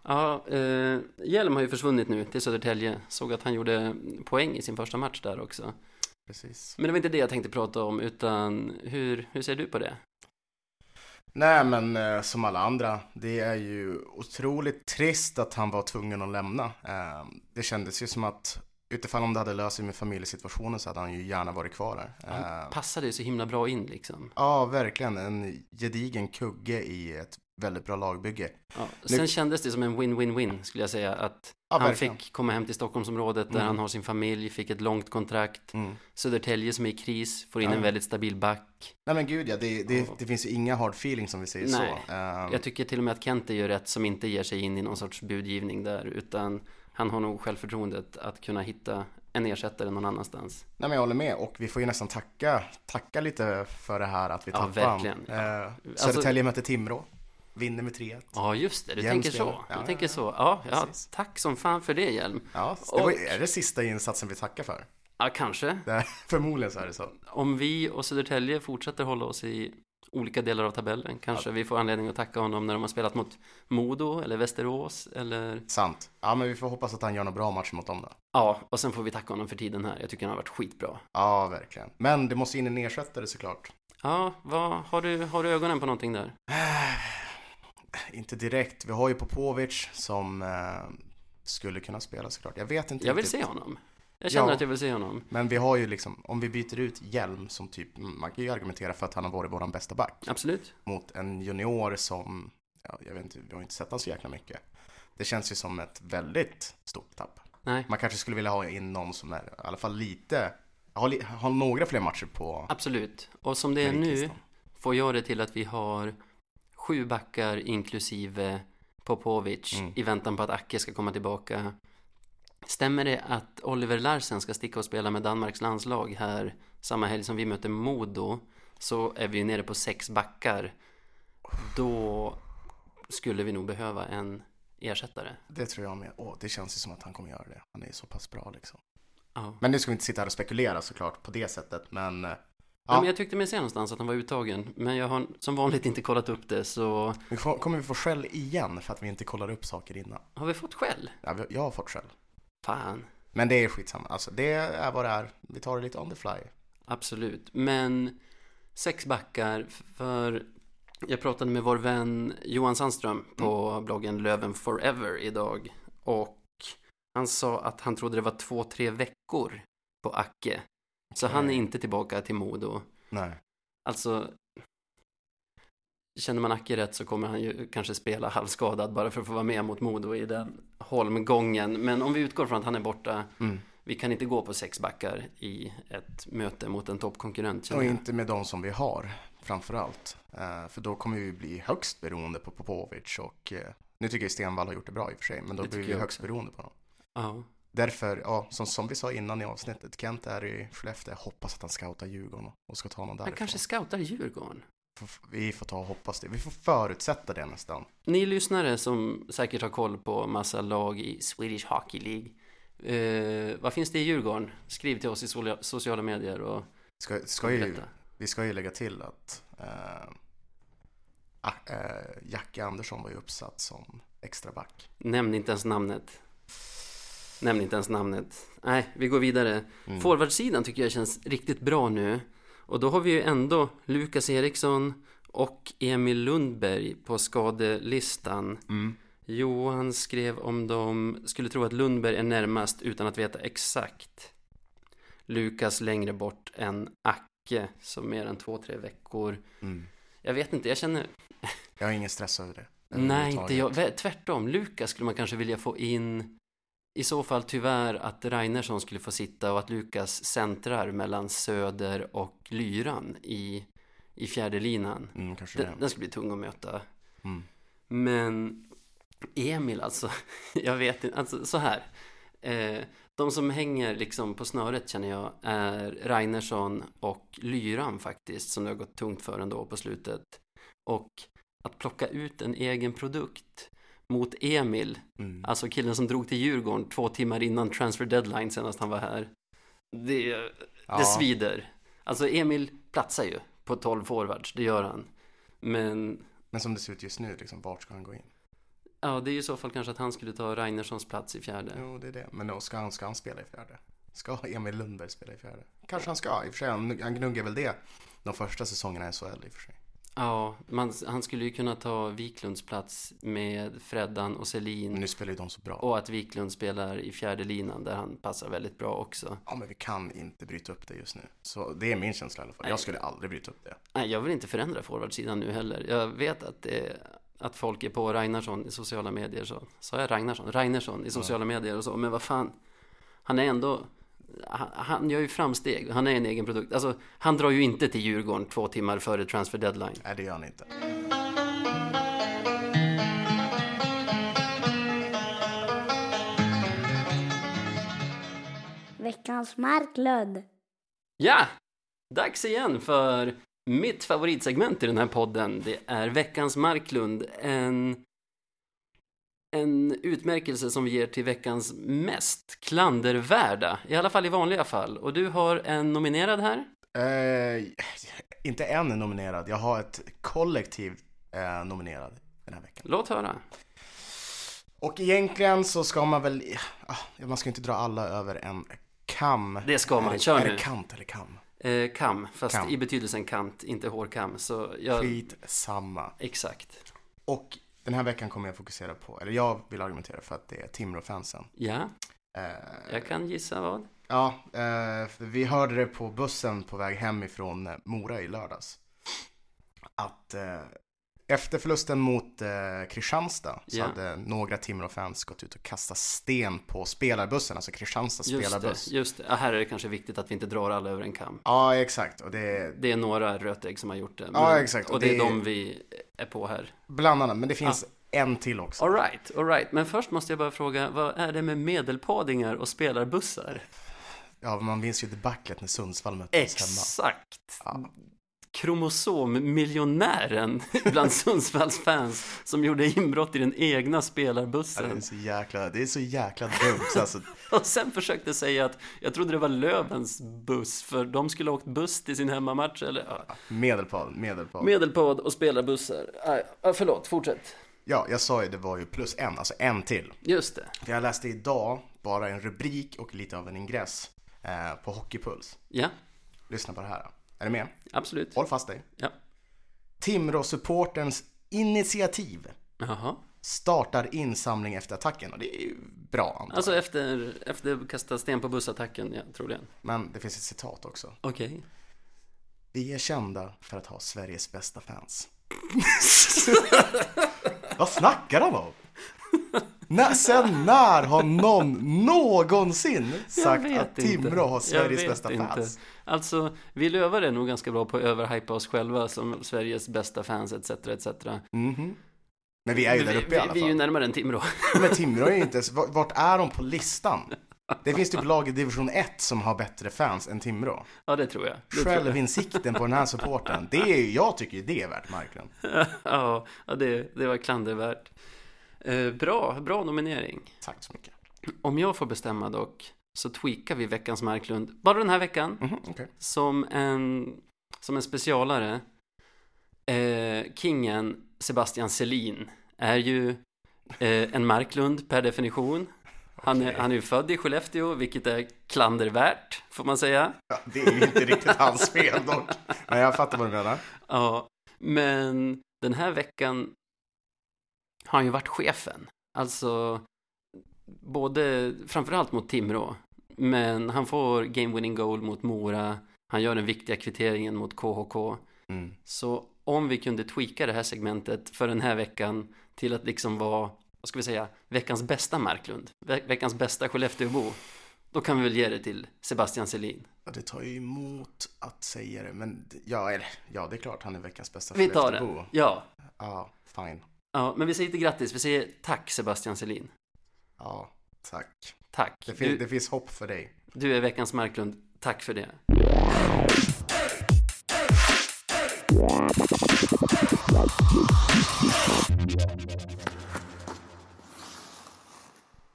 Ja, eh, Hjelm har ju försvunnit nu till Södertälje. Såg att han gjorde poäng i sin första match där också.
Precis.
Men det var inte det jag tänkte prata om, utan hur, hur ser du på det?
Nej, men eh, som alla andra, det är ju otroligt trist att han var tvungen att lämna. Eh, det kändes ju som att utifall om det hade löst sig med familjesituationen så hade han ju gärna varit kvar där.
Han
Eh,
passade ju så himla bra in liksom.
Ja, verkligen. En gedigen kugge i ett väldigt bra lagbygge.
Ja.
Nu-
Sen kändes det som en win-win-win skulle jag säga att
Ja,
han
verkligen.
fick komma hem till Stockholmsområdet där
Mm.
han har sin familj, fick ett långt kontrakt.
Mm.
Södertälje som är i kris, får in
Ja.
en väldigt stabil back.
Nej men gud ja, det, det,
Ja.
det finns ju inga hard feelings som vi säger så.
Nej.
Ehm,
Jag tycker till och med att Kente gör rätt som inte ger sig in i någon sorts budgivning där, utan han har nog självförtroendet att kunna hitta en ersättare någon annanstans.
nej men jag håller med och vi får ju nästan tacka, tacka lite för det här att vi
Ja,
tappade
verkligen.
Ehm,
Alltså-
Södertälje möter Timrå, vinner med 3-1.
Ja, just det, du
Jens
tänker
spelar.
så.
Ja,
du
ja,
tänker
ja.
så. Ja, ja,
Precis.
tack som fan för det Hjelm.
Ja, det var,
Och-
ju- är det sista insatsen vi tackar för?
Ja, kanske.
Det, förmodligen så är det så.
Om vi och Södertälje fortsätter hålla oss i olika delar av tabellen kanske vi får anledning att tacka honom när de har spelat mot Modo eller Västerås eller
Sant. Ja men vi får hoppas att han gör någon bra match mot dem då.
ja, och sen får vi tacka honom för tiden här. Jag tycker han har varit skitbra.
Ja, verkligen. Men det måste in en ersättare såklart.
Ja, vad har du, har du ögonen på någonting där?
inte direkt. Vi har ju Popovic som eh, skulle kunna spela såklart. Jag vet inte
Jag vill
riktigt.
se honom. Jag känner
Ja.
att jag vill se honom.
Men vi har ju liksom, om vi byter ut Hjelm som typ, man kan ju argumentera för att han har varit våran bästa back.
Absolut.
Mot en junior som, ja, jag vet inte, vi har inte sett han så jäkla mycket. Det känns ju som ett väldigt stort tapp.
Nej.
Man kanske skulle vilja ha in någon som är i alla fall lite, har, li, har några fler matcher på
Absolut. Och som det är nu
meritlistan.
får jag det till att vi har sju backar inklusive Popovic
Mm.
i väntan på att Acke ska komma tillbaka. Stämmer det att Oliver Larsen ska sticka och spela med Danmarks landslag här samma helg som vi möter Modo så är vi ju nere på sex backar. Då skulle vi nog behöva en ersättare.
Det tror jag med. Åh, det känns ju som att han kommer göra det. Han är ju så pass bra liksom.
Ja.
Men nu ska vi inte sitta här och spekulera såklart på det sättet, men eh, Ja.
Nej, men jag tyckte mig se någonstans att han var uttagen, men jag har som vanligt inte kollat upp det så
vi får, kommer vi få skäll igen för att vi inte kollar upp saker innan?
har vi fått skäll?
Ja, vi- jag har fått skäll.
Fan.
Men det är skitsamma. Alltså, det är vad det är. Vi tar det lite on the fly.
Absolut, men sex backar för jag pratade med vår vän Johan Sandström på
Mm.
bloggen Löven Forever idag och han sa att han trodde det var två, tre veckor på Acke. Så han är
Okej.
inte tillbaka till Modo.
Nej.
Alltså, känner man Acke rätt så kommer han ju kanske spela halvskadad bara för att få vara med mot Modo i den holmgången. Men om vi utgår från att han är borta,
Mm.
vi kan inte gå på sex backar i ett möte mot en toppkonkurrent. känner
Och
jag.
inte med de som vi har, framför allt. Eh, för då kommer vi bli högst beroende på Popovic och eh, nu tycker jag Stenvall har gjort det bra i och för sig, men då
Det
blir
tycker
vi
jag
högst
också.
beroende på dem.
Ja,
Därför, ja, som, som vi sa innan i avsnittet, Kent är i Skellefteå, Jag hoppas att han scoutar Djurgården och ska ta någon
han
därifrån.
kanske scoutar Djurgården.
Får- Vi får ta och hoppas det. Vi får förutsätta det nästan.
Ni lyssnare som säkert har koll på massa lag i Swedish Hockey League. Eh, vad finns det i Djurgården? Skriv till oss i solia- sociala medier och
Ska, ska ju,
berätta.
vi ska ju lägga till att eh, ah, eh, Jacke Andersson var ju uppsatt som extra back.
Nämn inte ens namnet. Nämn inte ens namnet. Nej, vi går vidare.
Mm.
Forwardsidan tycker jag känns riktigt bra nu. Och då har vi ju ändå Lukas Eriksson och Emil Lundberg på skadelistan.
Mm.
Johan skrev om dem, skulle tro att Lundberg är närmast utan att veta exakt. Lukas längre bort än Acke, så mer än två, tre veckor.
Mm.
Jag vet inte, jag känner...
Jag har ingen stress över det.
Nej,
överhuvudtaget.
inte jag. Vä- Tvärtom, Lukas skulle man kanske vilja få in. I så fall tyvärr att Reinersson skulle få sitta och att Lukas centrar mellan Söder och Lyran i, i fjärde linan.
Mm, kanske
Den,
det.
den skulle bli tung att möta.
Mm.
Men Emil alltså, jag vet inte, alltså så här. Eh, de som hänger liksom på snöret känner jag är Reinersson och Lyran faktiskt, som det har gått tungt för ändå på slutet. Och att plocka ut en egen produkt mot Emil,
Mm.
alltså killen som drog till Djurgården två timmar innan transfer deadline senast han var här. Det, det
Ja.
svider. Alltså Emil platsar ju på 12 forwards, det gör han. Men
Men som det ser ut just nu, liksom, vart ska han gå in?
Ja, det är ju i så fall kanske att han skulle ta Reinerssons plats i fjärde.
Jo, det är det. Men då ska, han, ska han spela i fjärde? Ska Emil Lundberg spela i fjärde? Kanske han ska, i och för sig. Han, han gnuggar väl det de första säsongerna i SHL i och för sig.
Ja, man, han skulle ju kunna ta Wiklunds plats med Freddan och
Men
Selin.
nu spelar ju de så bra.
Och att Wiklund spelar i fjärde linan där han passar väldigt bra också.
Ja, men vi kan inte bryta upp det just nu. Så det är min känsla i alla fall.
Nej.
Jag skulle aldrig bryta upp det.
Nej, jag vill inte förändra forwardsidan nu heller. Jag vet att, det, att folk är på Ragnarsson i sociala medier. Så sa jag Ragnarsson? Ragnarsson i sociala medier och så. Men vad fan. Han är ändå... Han, han gör ju framsteg. Han är en egen produkt. Alltså, han drar ju inte till Djurgården två timmar före transfer deadline.
Nej, det gör han inte.
Veckans marklöd.
Ja! Dags igen för mitt favoritsegment i den här podden. Det är veckans Marklund. En, en utmärkelse som vi ger till veckans mest klandervärda. I alla fall i vanliga fall. Och du har en nominerad här.
Eh, inte en är nominerad. Jag har ett kollektiv eh, nominerad den här veckan.
Låt höra.
Och egentligen så ska man väl, ah, man ska inte dra alla över en kam.
Det ska
Är
man.
det-
Kör
Är
nu.
det kant eller kam?
Eh, kam, fast
Kam.
i betydelsen kant, inte hårkam. Så jag...
Skit samma.
Exakt.
Och Den här veckan kommer jag fokusera på, eller jag vill argumentera för att det är Timrå-fansen.
Ja,
Eh,
jag kan gissa vad.
Ja, eh, för vi hörde det på bussen på väg hem ifrån eh, Mora i lördags. Att eh, efter förlusten mot eh, Kristianstad så
Ja.
hade några Timrå-fans gått ut och kastat sten på spelarbussen, alltså Kristianstads
Just det,
spelarbuss.
just det. Ja, här är det kanske viktigt att vi inte drar alla över en kam.
Ja, exakt. Och det,
Det är några rötägg som har gjort det.
Ja, exakt.
Och det är
Det-
de vi är på här.
Bland annat, men det finns en till också.
All right, all right. Men först måste jag bara fråga, vad är det med medelpadingar och spelarbussar?
Ja, man minns ju debaclet när Sundsvall möttes hemma.
Exakt!
Ja.
Kromosommiljonären bland Sundsvalls fans som gjorde inbrott i den egna
Ja, Det är
spelarbussen.
så jäkla, det är så jäkla dumt alltså.
Och sen försökte säga att jag trodde det var Lövens buss för de skulle ha åkt buss till sin hemmamatch eller ja.
Medelpad, medelpad.
Medelpad och spelarbussar. Ah, ja, förlåt, fortsätt.
Ja, jag sa ju det var ju plus en, alltså en till.
Just det.
För jag läste idag bara en rubrik och lite av en ingress eh, på Hockeypuls.
Ja,
Lyssna på det här. Är du med?
absolut.
Håll fast dig.
Ja.
Timrå-supporterns initiativ
Jaha.
startar insamling efter attacken. Och det är ju bra antar jag.
Alltså efter, efter kasta sten på bussattacken, ja, troligen.
Men det finns ett citat också.
Okej.
Vi är kända för att ha Sveriges bästa fans. Vad snackar de om? När, sen när har någon någonsin sagt
Jag vet
att
inte.
Timrå har
Jag
Sveriges
vet
bästa
inte.
fans?
Alltså, vi lövare är nog ganska bra på att överhypa oss själva som Sveriges bästa fans etc. etc.
Mhm. Men vi är ju där
vi,
uppe i alla
vi, vi är ju
fall.
närmare än Timrå.
Men Timrå är ju inte ens, vart vart är de på listan? Det finns typ lag i division 1 som har bättre fans än Timrå.
Ja, det tror jag. Det tror jag.
Självinsikten på den här supporten, det är ju, jag tycker ju det är värt Marklund.
ja, ja, det, det var klandervärt. Eh, bra, bra nominering.
Tack så mycket.
Om jag får bestämma dock, så tweakar vi veckans Marklund. Bara den här veckan.
Mhm, okej.
som en, som en specialare. Eh, kingen Sebastian Selin är ju eh, en Marklund per definition. Han är,
Okej.
han är ju född i Skellefteå, vilket är klandervärt, får man säga.
Ja, det är ju inte riktigt hans fel dock. Men jag fattar vad du menar.
Ja, men den här veckan har han ju varit chefen. Alltså, både, framförallt mot Timrå. Men han får game winning goal mot Mora. Han gör den viktiga kvitteringen mot KHK.
Mm.
Så om vi kunde tweaka det här segmentet för den här veckan till att liksom vara, vad ska vi säga, veckans bästa Marklund, ve- veckans bästa Skellefteåbo, då kan vi väl ge det till Sebastian Selin.
Ja, det tar ju emot att säga det, men d- ja, eller, ja det är klart han är veckans bästa
Vi tar
Skellefteåbo.
det. Ja.
Ja, fine.
ja, men vi säger inte grattis, vi säger tack Sebastian Selin.
Ja, tack.
Tack.
Det, fin-
Du,
det finns hopp för dig.
du är veckans Marklund. Tack för det.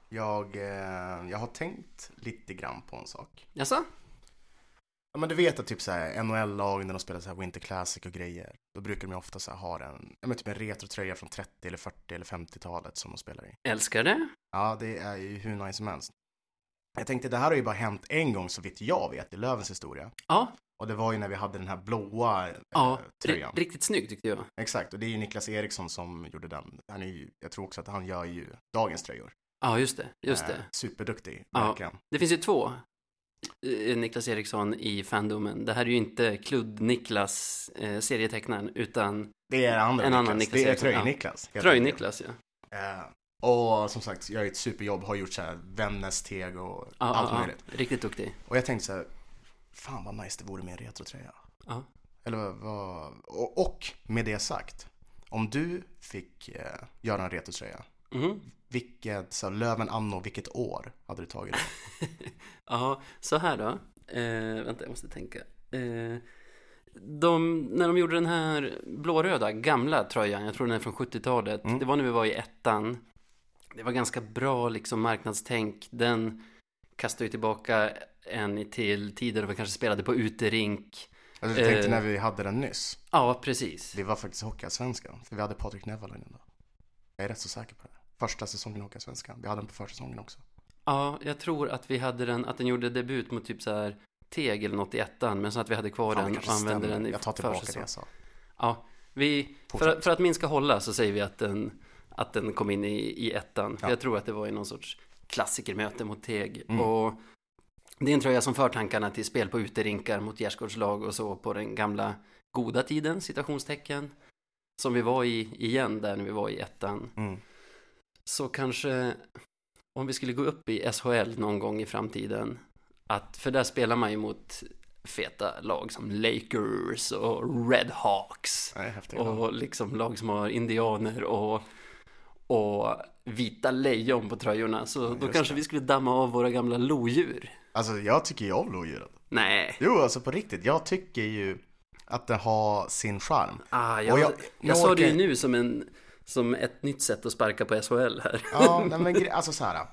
Jag, eh, jag har tänkt lite grann på en sak.
Jaså?
Ja, men du vet att typ så här NHL-lag när de spelar så här Winter Classic och grejer, då brukar de ju ofta så här ha en, ja, men typ en retrotröja från 30 eller 40 eller 50-talet som de spelar i.
Älskar det?
Ja, det är ju hur nice som helst. Jag tänkte, det här har ju bara hänt en gång så vitt jag vet i Lövens historia.
Ja,
Och det var ju när vi hade den här blåa eh,
ja.
tröjan.
Ri- riktigt snygg tyckte jag.
Exakt, och det är ju Niklas Eriksson som gjorde den. Han är ju, jag tror också att han gör ju dagens tröjor.
Ja, just det. Just
Eh,
det.
Superduktig,
Ja.
verkligen.
Det finns ju två eh, Niklas Eriksson i Fandomen. Det här är ju inte Kludd-Niklas, eh, serietecknaren, utan
Det är andra
En
Niklas.
annan Niklas
Det är
Eriksson, ja.
Tröj-Niklas. helt enkelt.
Tröj-Niklas, ja.
Eh, och som sagt, gör ju ett superjobb, har gjort så här Vännäs-teg och
Ja,
allt
ja,
möjligt.
ja. Riktigt duktig.
Och jag tänkte så här, fan vad nice det vore med en retrotröja.
Ja.
Eller vad- vad... Och, och med det sagt, om du fick eh, göra en retrotröja,
Mhm.
vilket, så här, Löven anno, vilket år hade du tagit det?
Ja, så här då. Eh, vänta, jag måste tänka. Eh, de, när de gjorde den här blåröda, gamla tröjan, jag tror den är från 70-talet.
Mm.
Det var när vi var i ettan. Det var ganska bra liksom marknadstänk. Den kastade ju tillbaka en till tider då vi kanske spelade på uterink.
Alltså, jag tänkte
Eh.
när vi hade den nyss,
Ja, precis.
det var faktiskt Hockeyallsvenskan, för vi hade Patrik Nevalainen då. Jag är rätt så säker på det. Första säsongen i Hockeyallsvenskan, vi hade den på försäsongen också.
Ja, jag tror att vi hade den, att den gjorde debut mot typ så här Teg eller något i ettan, men så att vi hade kvar
Fan, det
den och
kanske
använde
stämmer.
den i
Jag tar tillbaka det
försäsong.
jag sa.
Ja, vi, för,
Fortsätt.
för att min ska hålla så säger vi att den, att den kom in i, i ettan.
Ja.
Jag tror att det var i någon sorts klassikermöte mot Teg.
Mm.
Och det är en tröja som för tankarna till spel på uterinkar mot gärdsgårdslag och så på den gamla goda tiden, citationstecken. Som vi var i igen där när vi var i ettan.
Mm.
Så kanske om vi skulle gå upp i SHL någon gång i framtiden. Att, för där spelar man ju mot feta lag som Lakers och Red Hawks.
Det är häftigt.
Och liksom lag som har indianer och, och vita lejon på tröjorna. Så då
just
kanske
det.
vi skulle damma av våra gamla lodjur.
Alltså jag tycker ju om lodjuret.
Nej.
Jo, alltså på riktigt. Jag tycker ju att det har sin charm.
Ah,
Och
jag,
jag-
jag,
jag
sa det ju
orkar-
nu som, en, som ett nytt sätt att sparka på SHL här.
Ja, nej, men gre- alltså så här.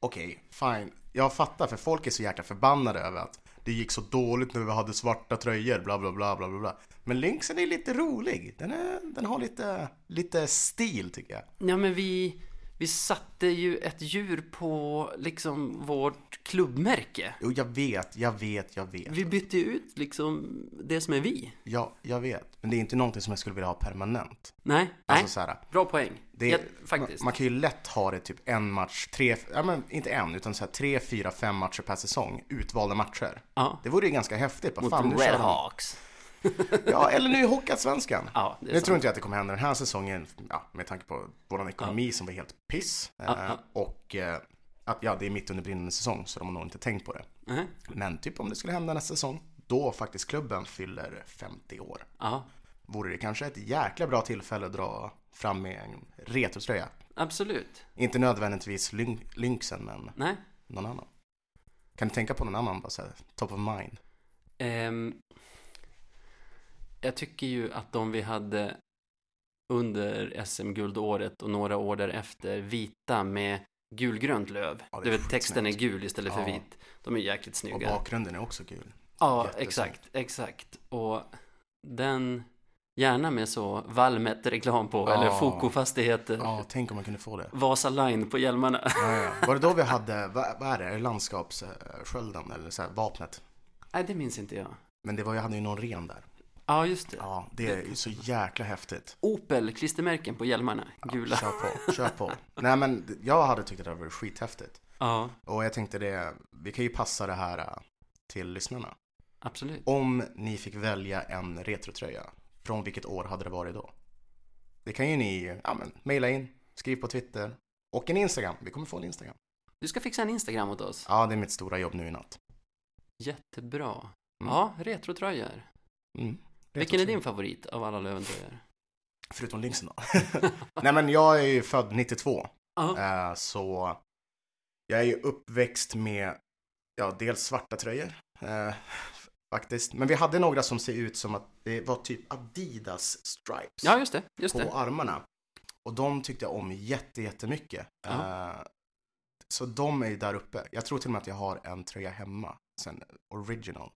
Okej, fine. Jag fattar för folk är så jäkla förbannade över att det gick så dåligt när vi hade svarta tröjor, bla bla bla bla bla. bla. Men Lynxen är lite rolig. Den, är, den har lite, lite stil tycker jag.
Ja, men vi, vi satte ju ett djur på liksom vårt klubbmärke.
Jo, jag vet, jag vet, jag vet.
Vi bytte ju ut liksom det som är vi.
Ja, jag vet. Men det är inte någonting som jag skulle vilja ha permanent.
Nej, nej.
Alltså så här.
Bra poäng.
Det,
ja, faktiskt.
Man, man kan ju lätt ha det typ en match, tre, ja men inte en, utan så här tre, fyra, fem matcher per säsong, utvalda matcher.
ja.
Det vore ju ganska häftigt. Bara,
Mot
fan, nu kör
Red
de.
Hawks.
Ja, eller nu i Hockeyallsvenskan.
Ja, det är
Nu
sant.
tror inte jag att det kommer hända den här säsongen, ja, med tanke på vår ekonomi som var helt piss. eh,
ja.
Och eh, att ja, det är mitt under brinnande säsong, så de har nog inte tänkt på det.
Nej.
Men typ om det skulle hända nästa säsong, då faktiskt klubben fyller 50 år.
Ja,
Vore det kanske ett jäkla bra tillfälle att dra fram med en retrotröja.
absolut.
Inte nödvändigtvis lyn- Lynxen, men
Nej.
någon annan. Kan du tänka på någon annan, bara så här, top of mind?
Ehm, jag tycker ju att de vi hade under SM-guldåret och några år därefter, vita med gulgrönt löv.
Ja, det
du
är
vet, texten är
skitsnyggt.
gul istället för
Ja.
vit. De är jäkligt
Och
snygga.
bakgrunden är också kul.
Ja,
Jättesnyggt.
exakt, exakt. Och den, gärna med så Valmet-reklam på,
Ja.
eller Foko-fastigheter.
Ja, tänk om man kunde få det.
Vasa Line på hjälmarna.
Ja, ja. Var det då vi hade, vad, vad är det, landskapsskölden eller så här, vapnet?
Nej, det minns inte jag.
Men det var, jag hade ju någon ren där.
Ja, just det.
Ja, det är ju så jäkla häftigt.
Opel-klistermärken på hjälmarna, gula.
Kör på, kör på. Nej men jag hade tyckt att det var skithäftigt.
Ja,
Och jag tänkte det, vi kan ju passa det här äh, till lyssnarna.
absolut.
Om ni fick välja en retrotröja, från vilket år hade det varit då? Det kan ju ni, ja men, mejla in, skriv på Twitter och en Instagram. Vi kommer få en Instagram.
Du ska fixa en Instagram åt oss.
Ja, det är mitt stora jobb nu i natt.
Jättebra.
Mm.
Ja, retrotröjor.
Mm.
Vilken är din favorit av alla Löventröjor?
Förutom Lynxen då. Nej men jag är ju född 92.
Ja,
eh, Så jag är ju uppväxt med, ja dels svarta tröjor. eh, Faktiskt. Men vi hade några som ser ut som att det var typ Adidas stripes
ja just det. Just
på
det.
armarna. Och de tyckte jag om jätte, jättemycket.
Ja.
Eh, Så de är ju där uppe. Jag tror till och med att jag har en tröja hemma. Sen original.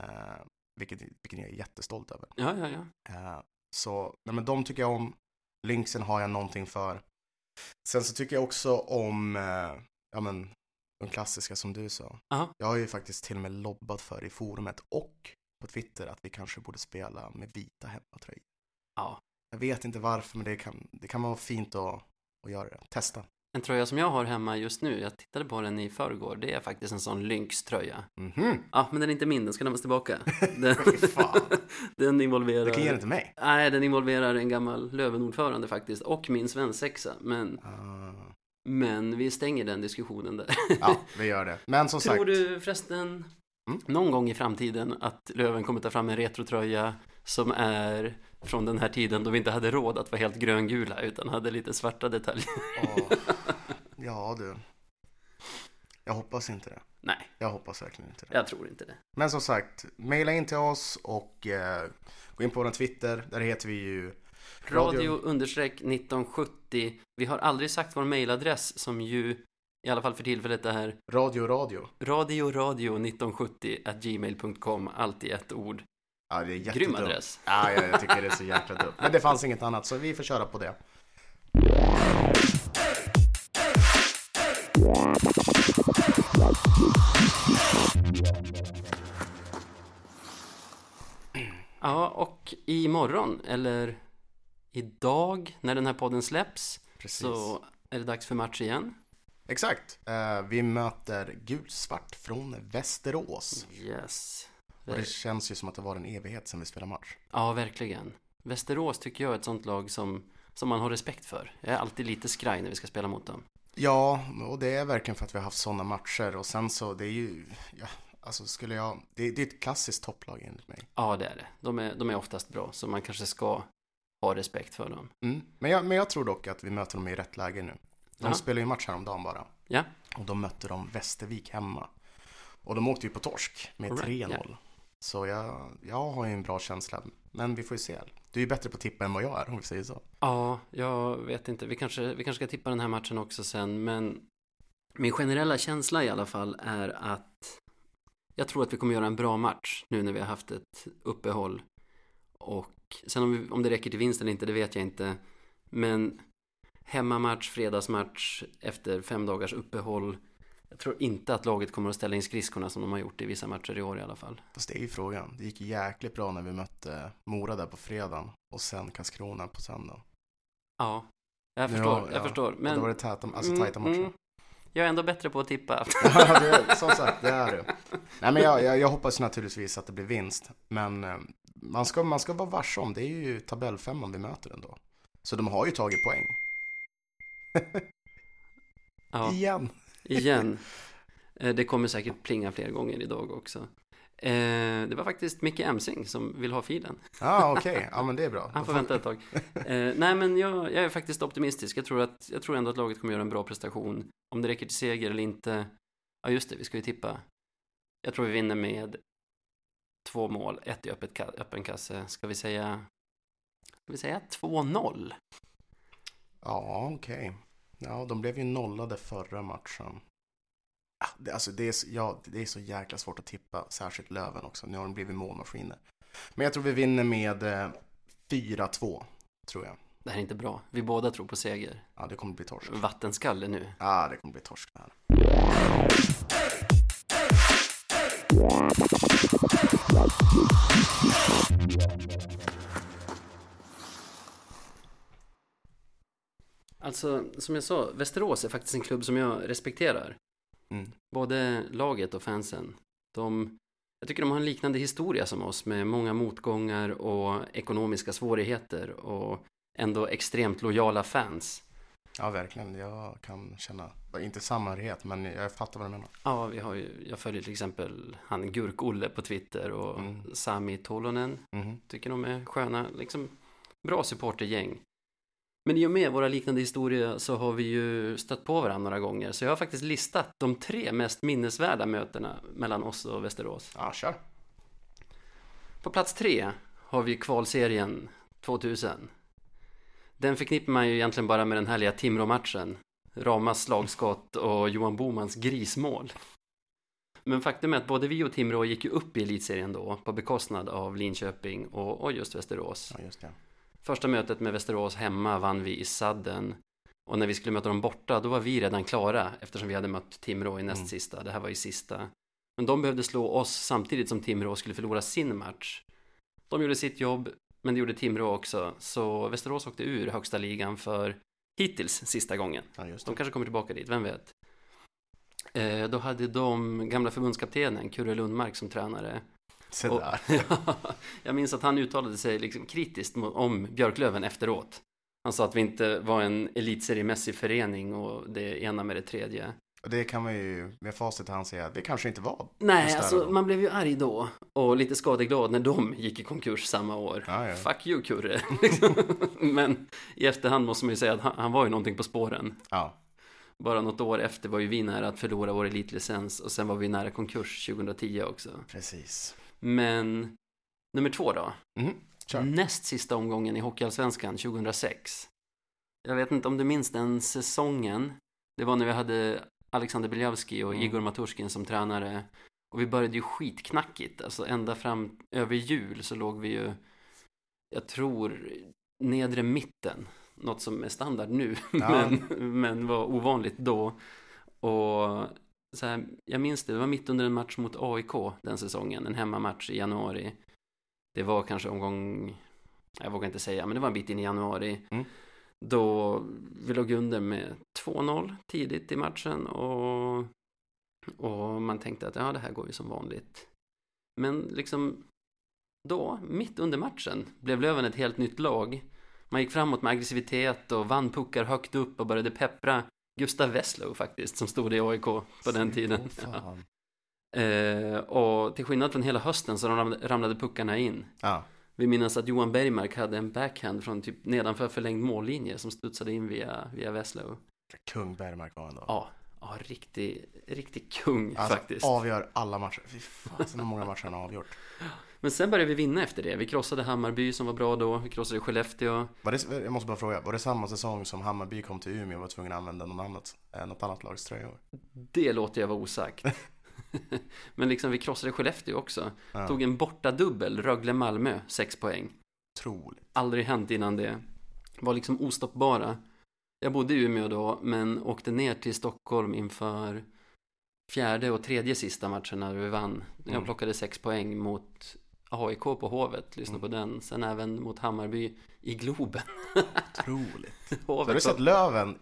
Eh, Vilket, vilken jag är jättestolt över.
Ja, ja, ja.
Eh, Så nej, men de tycker jag om. Lynxen har jag någonting för. Sen så tycker jag också om eh, ja, men, de klassiska som du sa.
Ja.
Jag har ju faktiskt till och med lobbat för i forumet och på Twitter att vi kanske borde spela med vita hemmatröjor.
Ja.
Jag vet inte varför men det kan, det kan vara fint att, att göra det. Testa.
En tröja som jag har hemma just nu, jag tittade på den i förrgår, det är faktiskt en sån Lynx-tröja.
Mhm.
Ja, men den är inte min, den ska lämnas tillbaka. Den,
Fy fan. Du kan
den
ge den
involverar...
till mig.
Nej, den involverar en gammal Lövenordförande faktiskt, och min svensexa. Men,
Ah.
men vi stänger den diskussionen där.
Ja, vi gör det. Men som
Tror
sagt.
du förresten
Mm.
någon gång i framtiden att Löven kommer ta fram en retrotröja som är från den här tiden då vi inte hade råd att vara helt gröngula utan hade lite svarta detaljer?
Åh. Ja du. Jag hoppas inte det.
Nej,
Jag hoppas verkligen inte det.
jag tror inte det.
Men som sagt, mejla in till oss och eh, gå in på vår Twitter. Där heter vi ju
Radio understreck 1970. Vi har aldrig sagt vår mejladress som ju i alla fall för tillfället är
Radio Radio.
radio radio 1970 at gmail.com allt i ett ord.
Ja, det är
Grym
jättedumt.
adress.
Ja, jag, jag tycker det är så jäkla dumt. Men det fanns inget annat, så vi får köra på det.
Ja, och imorgon eller idag när den här podden släpps
Precis.
så är det dags för match igen.
Exakt. Eh, vi möter gulsvart från Västerås.
Yes.
Och det känns ju som att det var en evighet sedan vi spelade match.
Ja, verkligen. Västerås tycker jag är ett sånt lag som, som man har respekt för. Jag är alltid lite skraj när vi ska spela mot dem.
Ja, och det är verkligen för att vi har haft sådana matcher och sen så, det är ju, ja, alltså skulle jag, det, det är ett klassiskt topplag enligt mig.
Ja, det är det. De är, de är oftast bra, så man kanske ska ha respekt för dem.
Mm. Men, jag, men jag tror dock att vi möter dem i rätt läge nu. De
Ja.
spelar ju match häromdagen bara.
Ja.
Och de mötte de Västervik hemma. Och de åkte ju på torsk med
Alright,
3-0. Så jag, jag har ju en bra känsla. Men vi får ju se. Du är ju bättre på att tippa än vad jag är om vi säger så.
Ja, jag vet inte. Vi kanske, vi kanske ska tippa den här matchen också sen, men min generella känsla i alla fall är att jag tror att vi kommer göra en bra match nu när vi har haft ett uppehåll. Och sen om, vi, om det räcker till vinst eller inte, det vet jag inte. Men hemmamatch, fredagsmatch efter fem dagars uppehåll. Jag tror inte att laget kommer att ställa in skridskorna som de har gjort i vissa matcher i år i alla fall.
Fast det är ju frågan. Det gick jäkligt bra när vi mötte Mora där på fredagen. Och sen Karlskrona på söndagen.
Ja, jag
Ja,
förstår. jag
ja.
förstår.
Men...
Men...
Och då var det täta, alltså, tajta matcher.
Mm, Jag är ändå bättre på att tippa.
Ja, det, som sagt, det är du. Nej men jag, jag, jag hoppas naturligtvis att det blir vinst. Men eh, man ska, man ska vara varse om, det är ju tabellfemman vi möter ändå. Så de har ju tagit poäng.
Ja,
Igen.
igen. Eh, Det kommer säkert plinga fler gånger idag också. Eh, Det var faktiskt Micke Emsing som vill ha filen.
Ja, ah, okej. Ja, men det är bra.
Han får vänta ett tag. Eh, Nej, men jag, jag är faktiskt optimistisk. Jag tror, att, jag tror ändå att laget kommer göra en bra prestation. Om det räcker till seger eller inte. Ja, just det, vi ska ju tippa. Jag tror vi vinner med två mål, ett i öppet ka- öppen kasse. Ska vi säga, ska vi säga 2-0?
Ja, okej. Ja, de blev ju nollade förra matchen. Ah, det- Alltså det är, så- ja, det är så jäkla svårt att tippa, särskilt Löven också. Nu har de blivit målmaskiner. Men jag tror vi vinner med eh, 4-2, tror jag.
Det här är inte bra. Vi båda tror på seger.
Ja, det kommer bli torsk. Ja,
Vattenskalle nu.
ah, det kommer bli torsk det här.
Alltså, som jag sa, Västerås är faktiskt en klubb som jag respekterar.
Mm.
Både laget och fansen. De, jag tycker de har en liknande historia som oss med många motgångar och ekonomiska svårigheter och ändå extremt lojala fans.
Ja, verkligen. Jag kan känna, inte samhörighet, men jag fattar vad du menar.
Ja, vi har ju, jag följer till exempel han Gurk-Olle på Twitter och
Mm.
Sami Tolonen.
Mhm.
Tycker de är sköna, liksom bra supportergäng. Men i och med våra liknande historier så har vi ju stött på varandra några gånger. Så jag har faktiskt listat de tre mest minnesvärda mötena mellan oss och Västerås.
Ja, kör.
På plats tre har vi kvalserien 2000. Den förknippar man ju egentligen bara med den härliga Timrå-matchen. Ramas slagskott och Johan Bomans grismål. Men faktum är att både vi och Timrå gick ju upp i elitserien då på bekostnad av Linköping och, och just Västerås.
Ja, just det.
Första mötet med Västerås hemma vann vi i sadden. Och när vi skulle möta dem borta, då var vi redan klara eftersom vi hade mött Timrå i näst
Mm.
sista. Det här var ju sista. Men de behövde slå oss samtidigt som Timrå skulle förlora sin match. De gjorde sitt jobb, men det gjorde Timrå också. Så Västerås åkte ur högsta ligan för hittills sista gången.
Ja, just
De
det.
kanske kommer tillbaka dit, vem vet? Eh, då hade de gamla förbundskaptenen, Kurre Lundmark, som tränare.
Se
Och-
där.
jag minns att han uttalade sig liksom kritiskt mo- om Björklöven efteråt. Han sa att vi inte var en elitseriemässig förening och det ena med det tredje.
Och det kan man ju med facit i hand säga, det kanske inte var.
Nej,
Just det,
alltså
då.
man blev ju arg då och lite skadeglad när de gick i konkurs samma år.
Ja, ja.
Fuck you Kurre, liksom. Men i efterhand måste man ju säga att han, han var ju någonting på spåren.
Ja,
Bara något år efter var ju vi nära att förlora vår elitlicens och sen var vi nära konkurs 2010 också.
precis.
Men nummer två då.
Mhm, Kör.
Näst sista omgången i Hockeyallsvenskan 2006. Jag vet inte om du minns den säsongen. Det var när vi hade Alexander Biljavski och
Mm.
Igor Maturskin som tränare. Och vi började ju skitknackigt. Alltså ända fram över jul så låg vi ju, jag tror, nedre mitten. Något som är standard nu,
Ja.
men, men var ovanligt då. Och så här, jag minns det, det var mitt under en match mot AIK den säsongen, en hemmamatch i januari. Det var kanske omgång jag vågar inte säga, men det var en bit in i januari.
Mm.
Då vi låg under med 2-0 tidigt i matchen och, och man tänkte att ja, det här går ju som vanligt. Men liksom då, mitt under matchen, blev Löven ett helt nytt lag. Man gick framåt med aggressivitet och vann puckar högt upp och började peppra Gustav Weslow faktiskt, som stod i AIK på den tiden.
Åh, fan.
Eh, och till skillnad från hela hösten så ramlade- ramlade puckarna in.
Ja.
Vi minns att Johan Bergmark hade en backhand från typ nedanför förlängd mållinje som studsade in via, via Veslow.
Kung Bergmark var han då.
Ja, ja riktig, riktig kung
Alltså,
faktiskt.
avgör alla matcher. Fy fasen hur många matcher han har avgjort.
Men sen började vi vinna efter det. Vi krossade Hammarby som var bra då, vi krossade Skellefteå.
Var det, jag måste bara fråga, var det samma säsong som Hammarby kom till Umeå och var tvungen att använda någon annat, eh, något annat lags tröjor?
Det låter jag vara osagt. Men liksom vi krossade Skellefteå också.
Ja.
Tog en borta dubbel Rögle-Malmö, 6 poäng.
Otroligt.
aldrig hänt innan det. Var liksom ostoppbara. Jag bodde i Umeå då, men åkte ner till Stockholm inför fjärde och tredje sista matchen när vi vann.
Mm.
Jag plockade sex poäng mot AIK på Hovet, lyssna
Mm.
på den. Sen även mot Hammarby i Globen.
Otroligt. Så har du
Hovet
sett
var,
Löven?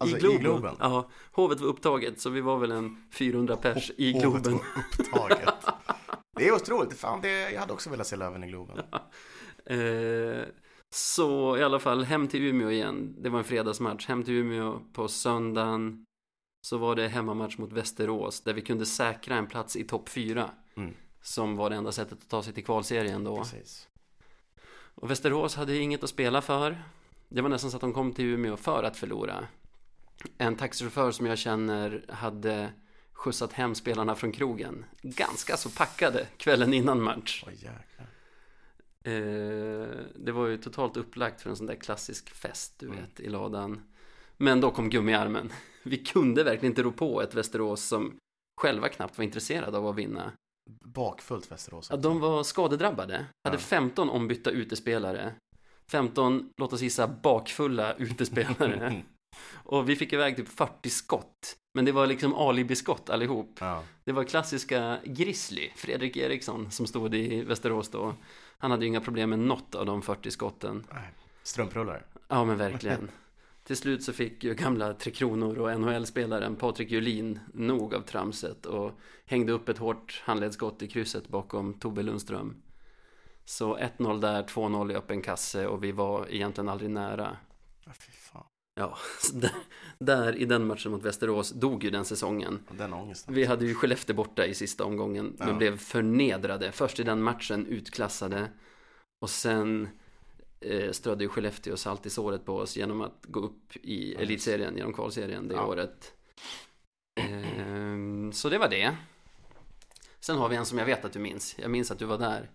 Alltså i Globen?
Ja, Hovet var upptaget, så vi var väl en 400 pers i
Hovet
Globen.
var upptaget. Det är otroligt. Fan, det, jag hade också velat se Löven i Globen.
Eh, så i alla fall hem till Umeå igen. Det var en fredagsmatch. Hem till Umeå på söndagen. Så var det hemmamatch mot Västerås där vi kunde säkra en plats i topp fyra.
Mm.
Som var det enda sättet att ta sig till kvalserien då.
Precis.
Och Västerås hade inget att spela för. Det var nästan så att de kom till Umeå för att förlora. En taxichaufför som jag känner hade skjutsat hem spelarna från krogen. Ganska så packade kvällen innan match.
Oj, jäklar.
Eh, det var ju totalt upplagt för en sån där klassisk fest, du vet, i ladan. Men då kom gummiarmen. Vi kunde verkligen inte rå på ett Västerås som själva knappt var intresserade av att vinna.
Bakfullt Västerås.
Ja, de var skadedrabbade, hade
Ja.
15 ombytta utespelare. 15, låt oss gissa, bakfulla
Mm,
utespelare. Och vi fick iväg typ 40 skott. Men det var liksom alibiskott allihop.
Ja.
Det var klassiska Grizzly, Fredrik Eriksson, som stod i Västerås då. Han hade ju inga problem med något av de 40 skotten.
Nej. Strumprullar.
Ja, men verkligen. Till slut så fick ju gamla Tre Kronor och NHL-spelaren Patrik Julin nog av tramset och hängde upp ett hårt handledsskott i krysset bakom Tobbe Lundström. Så 1-0 där, 2-0 i öppen kasse och vi var egentligen aldrig nära.
Ja, fy fan.
Ja, så där, där i den matchen mot Västerås dog ju den säsongen.
Den ångesten.
Vi hade ju Skellefteå borta i sista omgången, men
Ja.
blev förnedrade. Först i den matchen utklassade och sen eh, strödde ju Skellefteå salt i såret på oss genom att gå upp i
Ja,
elitserien, genom kvalserien det
Ja.
året. Ehm, så det var det. Sen har vi en som jag vet att du minns. Jag minns att du var där.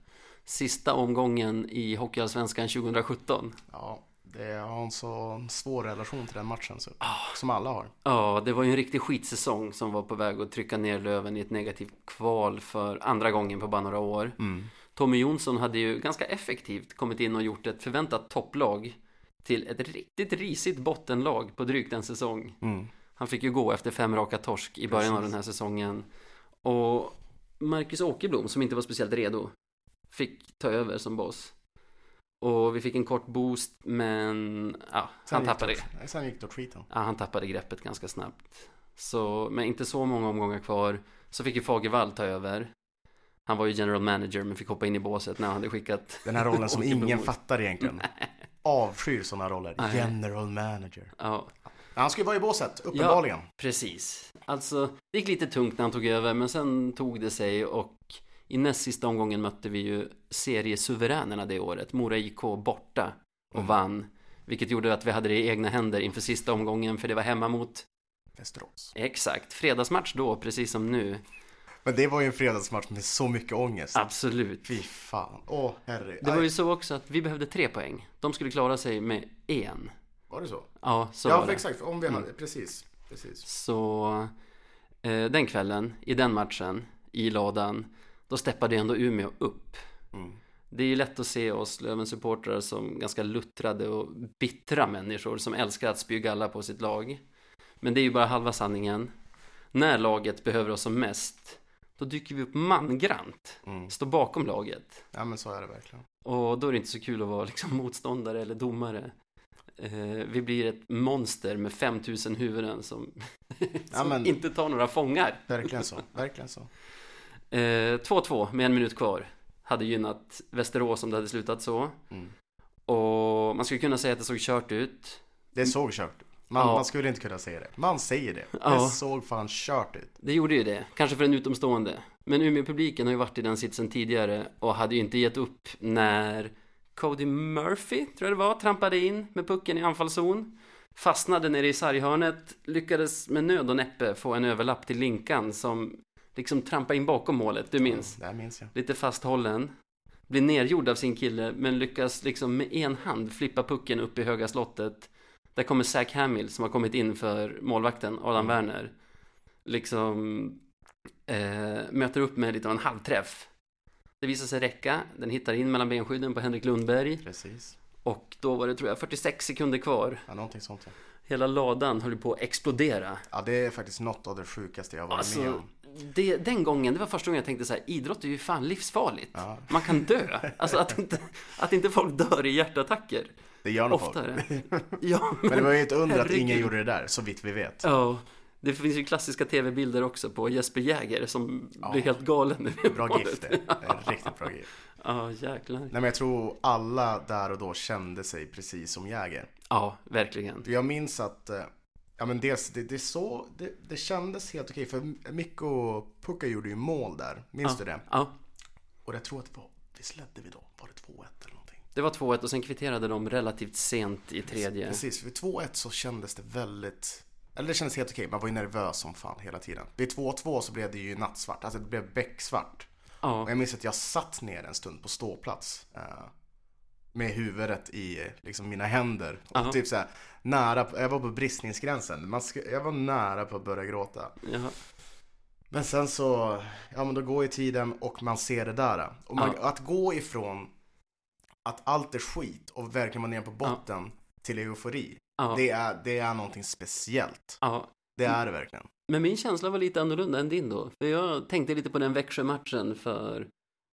Sista omgången i Hockeyallsvenskan 2017.
Ja, det jag har en så svår relation till den matchen så, som alla har.
Ja, det var ju en riktig skitsäsong som var på väg att trycka ner Löven i ett negativt kval för andra gången på bara några år.
Mm,
Tommy Jonsson hade ju ganska effektivt kommit in och gjort ett förväntat topplag till ett riktigt risigt bottenlag på drygt en säsong.
Mm.
Han fick ju gå efter fem raka torsk i början av
Precis.
den här säsongen. Och Marcus Åkerblom, som inte var speciellt redo, fick ta över som boss. Och vi fick en kort boost, men ja, han
gick
tappade.
det. åt- Sen gick det åt skiten.
Ja, han tappade greppet ganska snabbt. Så med inte så många omgångar kvar så fick ju Fagervall ta över. Han var ju general manager men fick hoppa in i båset när han hade skickat.
Den här rollen som
Åkerblom.
ingen fattar egentligen. Avskyr sådana roller.
Nej.
General manager.
Ja,
Han ska ju vara i båset, uppenbarligen.
precis. Alltså, det gick lite tungt när han tog över men sen tog det sig och i näst sista omgången mötte vi ju seriesuveränerna det året, Mora IK borta och
Mm.
vann. Vilket gjorde att vi hade det i egna händer inför sista omgången för det var hemma mot,
Västerås.
exakt, fredagsmatch då precis som nu.
Men det var ju en fredagsmatch med så mycket ångest.
Absolut.
Fy fan. Åh, herre.
Det var ju så också att vi behövde tre poäng. De skulle klara sig med en.
var det så?
Ja, så
ja,
var
för
det. Mm.
exakt. Om vi hade... Precis. Precis.
Så eh, den kvällen, i den matchen, i ladan, då steppade ju ändå Umeå upp.
Mm.
Det är ju lätt att se oss Lövens supportrar som ganska luttrade och bittra människor som älskar att spy galla på sitt lag. Men det är ju bara halva sanningen. När laget behöver oss som mest, Då dyker vi upp mangrant,
Mm.
står bakom laget.
Ja men så är det verkligen.
Och då är det inte så kul att vara liksom motståndare eller domare. Eh, vi blir ett monster med 5000 huvuden som, som
Ja, men-
inte tar några fångar.
Verkligen så. Verkligen så.
Eh, 2-2 med en minut kvar. Hade gynnat Västerås om det hade slutat så.
Mm.
Och man skulle kunna säga att det såg kört ut.
Det såg kört ut. man,
Ja.
man skulle inte kunna säga det. Man säger det.
Ja.
Det såg fan kört ut.
Det gjorde ju det, kanske för en utomstående. Men Umeå-publiken har ju varit i den sitsen tidigare och hade ju inte gett upp när Cody Murphy, tror jag det var, trampade in med pucken i anfallszon. Fastnade nere i sarghörnet, lyckades med nöd och näppe få en överlapp till Linkan som liksom trampade in bakom målet, du minns?
Det här minns jag.
lite fasthållen. Blir nergjord av sin kille men lyckas liksom med en hand flippa pucken upp i höga slottet. Där kommer Zach Hamill som har kommit in för målvakten Adam Werner. Liksom eh, möter upp med lite av en halvträff. Det visar sig räcka. Den hittar in mellan benskydden på Henrik Lundberg.
Precis.
Och då var det tror jag 46 sekunder kvar.
Ja, någonting sånt. ja.
Hela ladan höll på att explodera.
Ja, det är faktiskt något av det sjukaste jag har varit med
Alltså,
om.
det, den gången, det var första gången jag tänkte så här, idrott är ju fan livsfarligt.
Ja.
Man kan dö. Alltså att inte, att inte folk dör i hjärtattacker.
Det gör nog folk.
Oftare. Ja,
Men det var ju ett under att
herregud.
ingen gjorde det där, så vitt vi vet.
Ja, det finns ju klassiska tv-bilder också på Jesper Jäger som
Ja.
blir helt galen. när vi-
Bra gift det. det. är Riktigt bra gift.
Ja, jäklar.
Nej men jag tror alla där och då kände sig precis som Jäger.
Ja, verkligen.
För jag minns att, eh, ja men dels, det, det, så, det, det kändes helt okej för Mikko Pukka gjorde ju mål där, minns du det?
Ja,
Och jag tror att det var, visst ledde vi då? Var det 2-1 eller någonting?
det var 2-1 och sen kvitterade de relativt sent i tredje.
Precis, vid 2-1 så kändes det väldigt, eller det kändes helt okej, man var ju nervös som fan hela tiden. Vid 2-2 så blev det ju nattsvart, alltså det blev becksvart. Och
Ja,
jag minns att jag satt ner en stund på ståplats. eh, med huvudet i eh, liksom, mina händer. Och
Ja.
typ så här, nära, på- jag var på bristningsgränsen. Man sk- jag var nära på att börja gråta.
ja,
Men sen så, ja men då går ju tiden och man ser det där. Och man, att gå ifrån att allt är skit och verkligen vara nere på botten till eufori.
ja, Mm.
Det, är, det är någonting speciellt.
ja.
Det är det verkligen.
Men min känsla var lite annorlunda än din då. För jag tänkte lite på den Växjö-matchen för,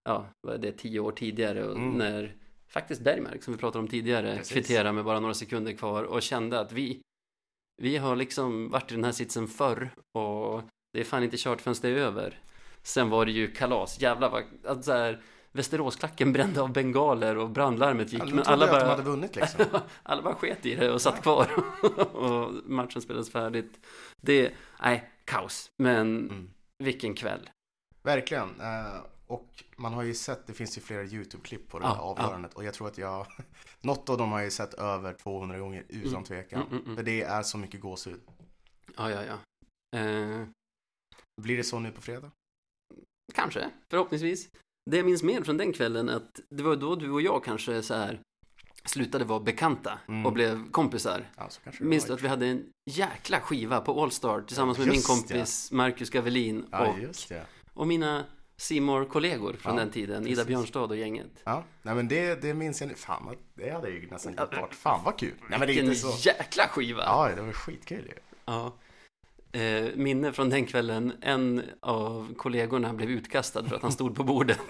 ja, vad är det, tio år tidigare. Och
Mm.
När faktiskt Bergmark, som vi pratade om tidigare,
Precis.
kvitterade med bara några sekunder kvar och kände att vi, vi har liksom varit i den här sitsen förr och det är fan inte kört förrän det är över. Sen var det ju kalas, jävlar vad, att så här, Västeråsklacken brände av bengaler och brandlarmet gick.
Ja, de
men
trodde
alla
jag att de
bara,
hade vunnit liksom.
alla bara sket i det och satt kvar och matchen spelades färdigt. Det, nej, kaos. Men
Mm.
vilken kväll.
Verkligen. Eh, Och man har ju sett, det finns ju flera YouTube-klipp på det
Ja,
här avgörandet. Och jag tror att jag, något av dem har jag ju sett över 200 gånger utan
Mm.
tvekan.
Mm, mm, mm.
För det är så mycket gåshud.
Ja, ja, ja. Eh,
Blir det så nu på fredag?
kanske, förhoppningsvis. Det jag minns mer från den kvällen är att det var då du och jag kanske så här slutade vara bekanta
Mm.
och blev kompisar.
Ja, så kanske det
Minns du
var.
att vi hade en jäkla skiva på Allstar tillsammans med
Just
min kompis Marcus Gavelin
Ja,
och,
just det.
och mina simor kollegor från
Ja,
den tiden, Ida
precis.
Björnstad och gänget.
Ja, nej men det, det minns jag nu. Fan, vad- det hade jag ju nästan glömt bort. Fan vad kul. Nej men det är
Vilken
inte så.
jäkla skiva!
Ja, det var skitkul ju.
Ja. Eh, minne från den kvällen, en av kollegorna blev utkastad för att han stod på bordet.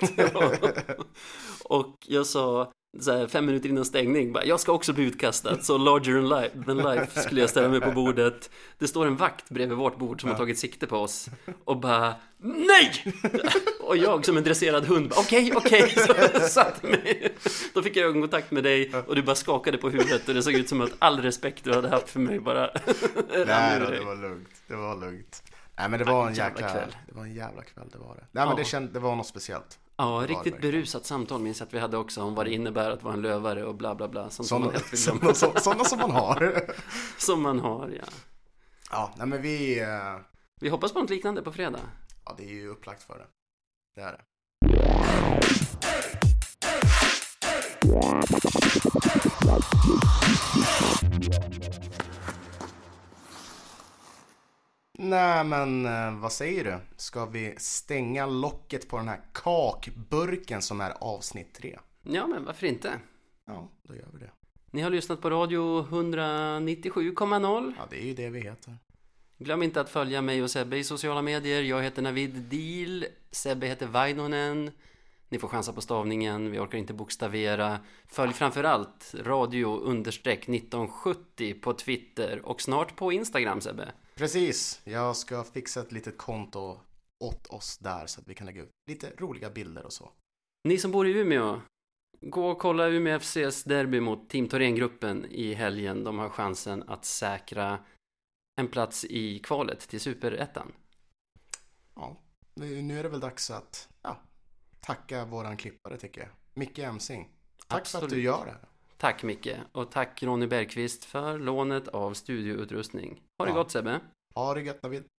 och jag sa så här, fem minuter innan stängning, bara, jag ska också bli utkastad, så larger than life, than life skulle jag ställa mig på bordet. Det står en vakt bredvid vårt bord som har tagit sikte på oss och bara NEJ! och jag som en dresserad hund bara okej, okej, så jag satte mig. Då fick jag ögonkontakt med dig och du bara skakade på huvudet och det såg ut som att all respekt du hade haft för mig bara
Nej
rann
då,
ur dig.
det var lugnt. Det var lugnt. Nej men det var en
jävla
jäkla
kväll.
kväll. Det var en jävla kväll, det var det. Nej men det,
Ja.
känd, det var något speciellt.
Ja,
det
riktigt
verkligen.
berusat samtal minns jag att vi hade också om vad det innebär att vara en lövare och bla bla bla. Sånt som man
Sådana,
helt vill glömma.
sådana, sådana som man har.
Som man har, ja.
Ja, nej men vi... eh,
Vi hoppas på något liknande på fredag.
Ja, det är ju upplagt för det. Det är det. Nej, men eh, vad säger du? Ska vi stänga locket på den här kakburken som är avsnitt tre?
Ja, men varför inte?
Ja, då gör vi det.
Ni har lyssnat på radio 197,0.
Ja, det är ju det vi heter.
Glöm inte att följa mig och Sebbe i sociala medier. Jag heter Navid Deal. Sebbe heter Vainonen. Ni får chansa på stavningen. Vi orkar inte bokstavera. Följ framförallt radio understreck 1970 på Twitter och snart på Instagram Sebbe.
Precis, jag ska fixa ett litet konto åt oss där så att vi kan lägga ut lite roliga bilder och så.
Ni som bor i Umeå, gå och kolla Umeå FCs derby mot Team Thorengruppen i helgen. De har chansen att säkra en plats i kvalet till Superettan.
Ja, nu nu är det väl dags att ja, tacka våran klippare tycker jag. Micke Emsing. Tack för att du
Absolut.
gör det här.
Tack Micke och tack Ronny Bergqvist för lånet av studioutrustning. Ha det
Ja.
gott Sebbe!
Ha det gött Navid.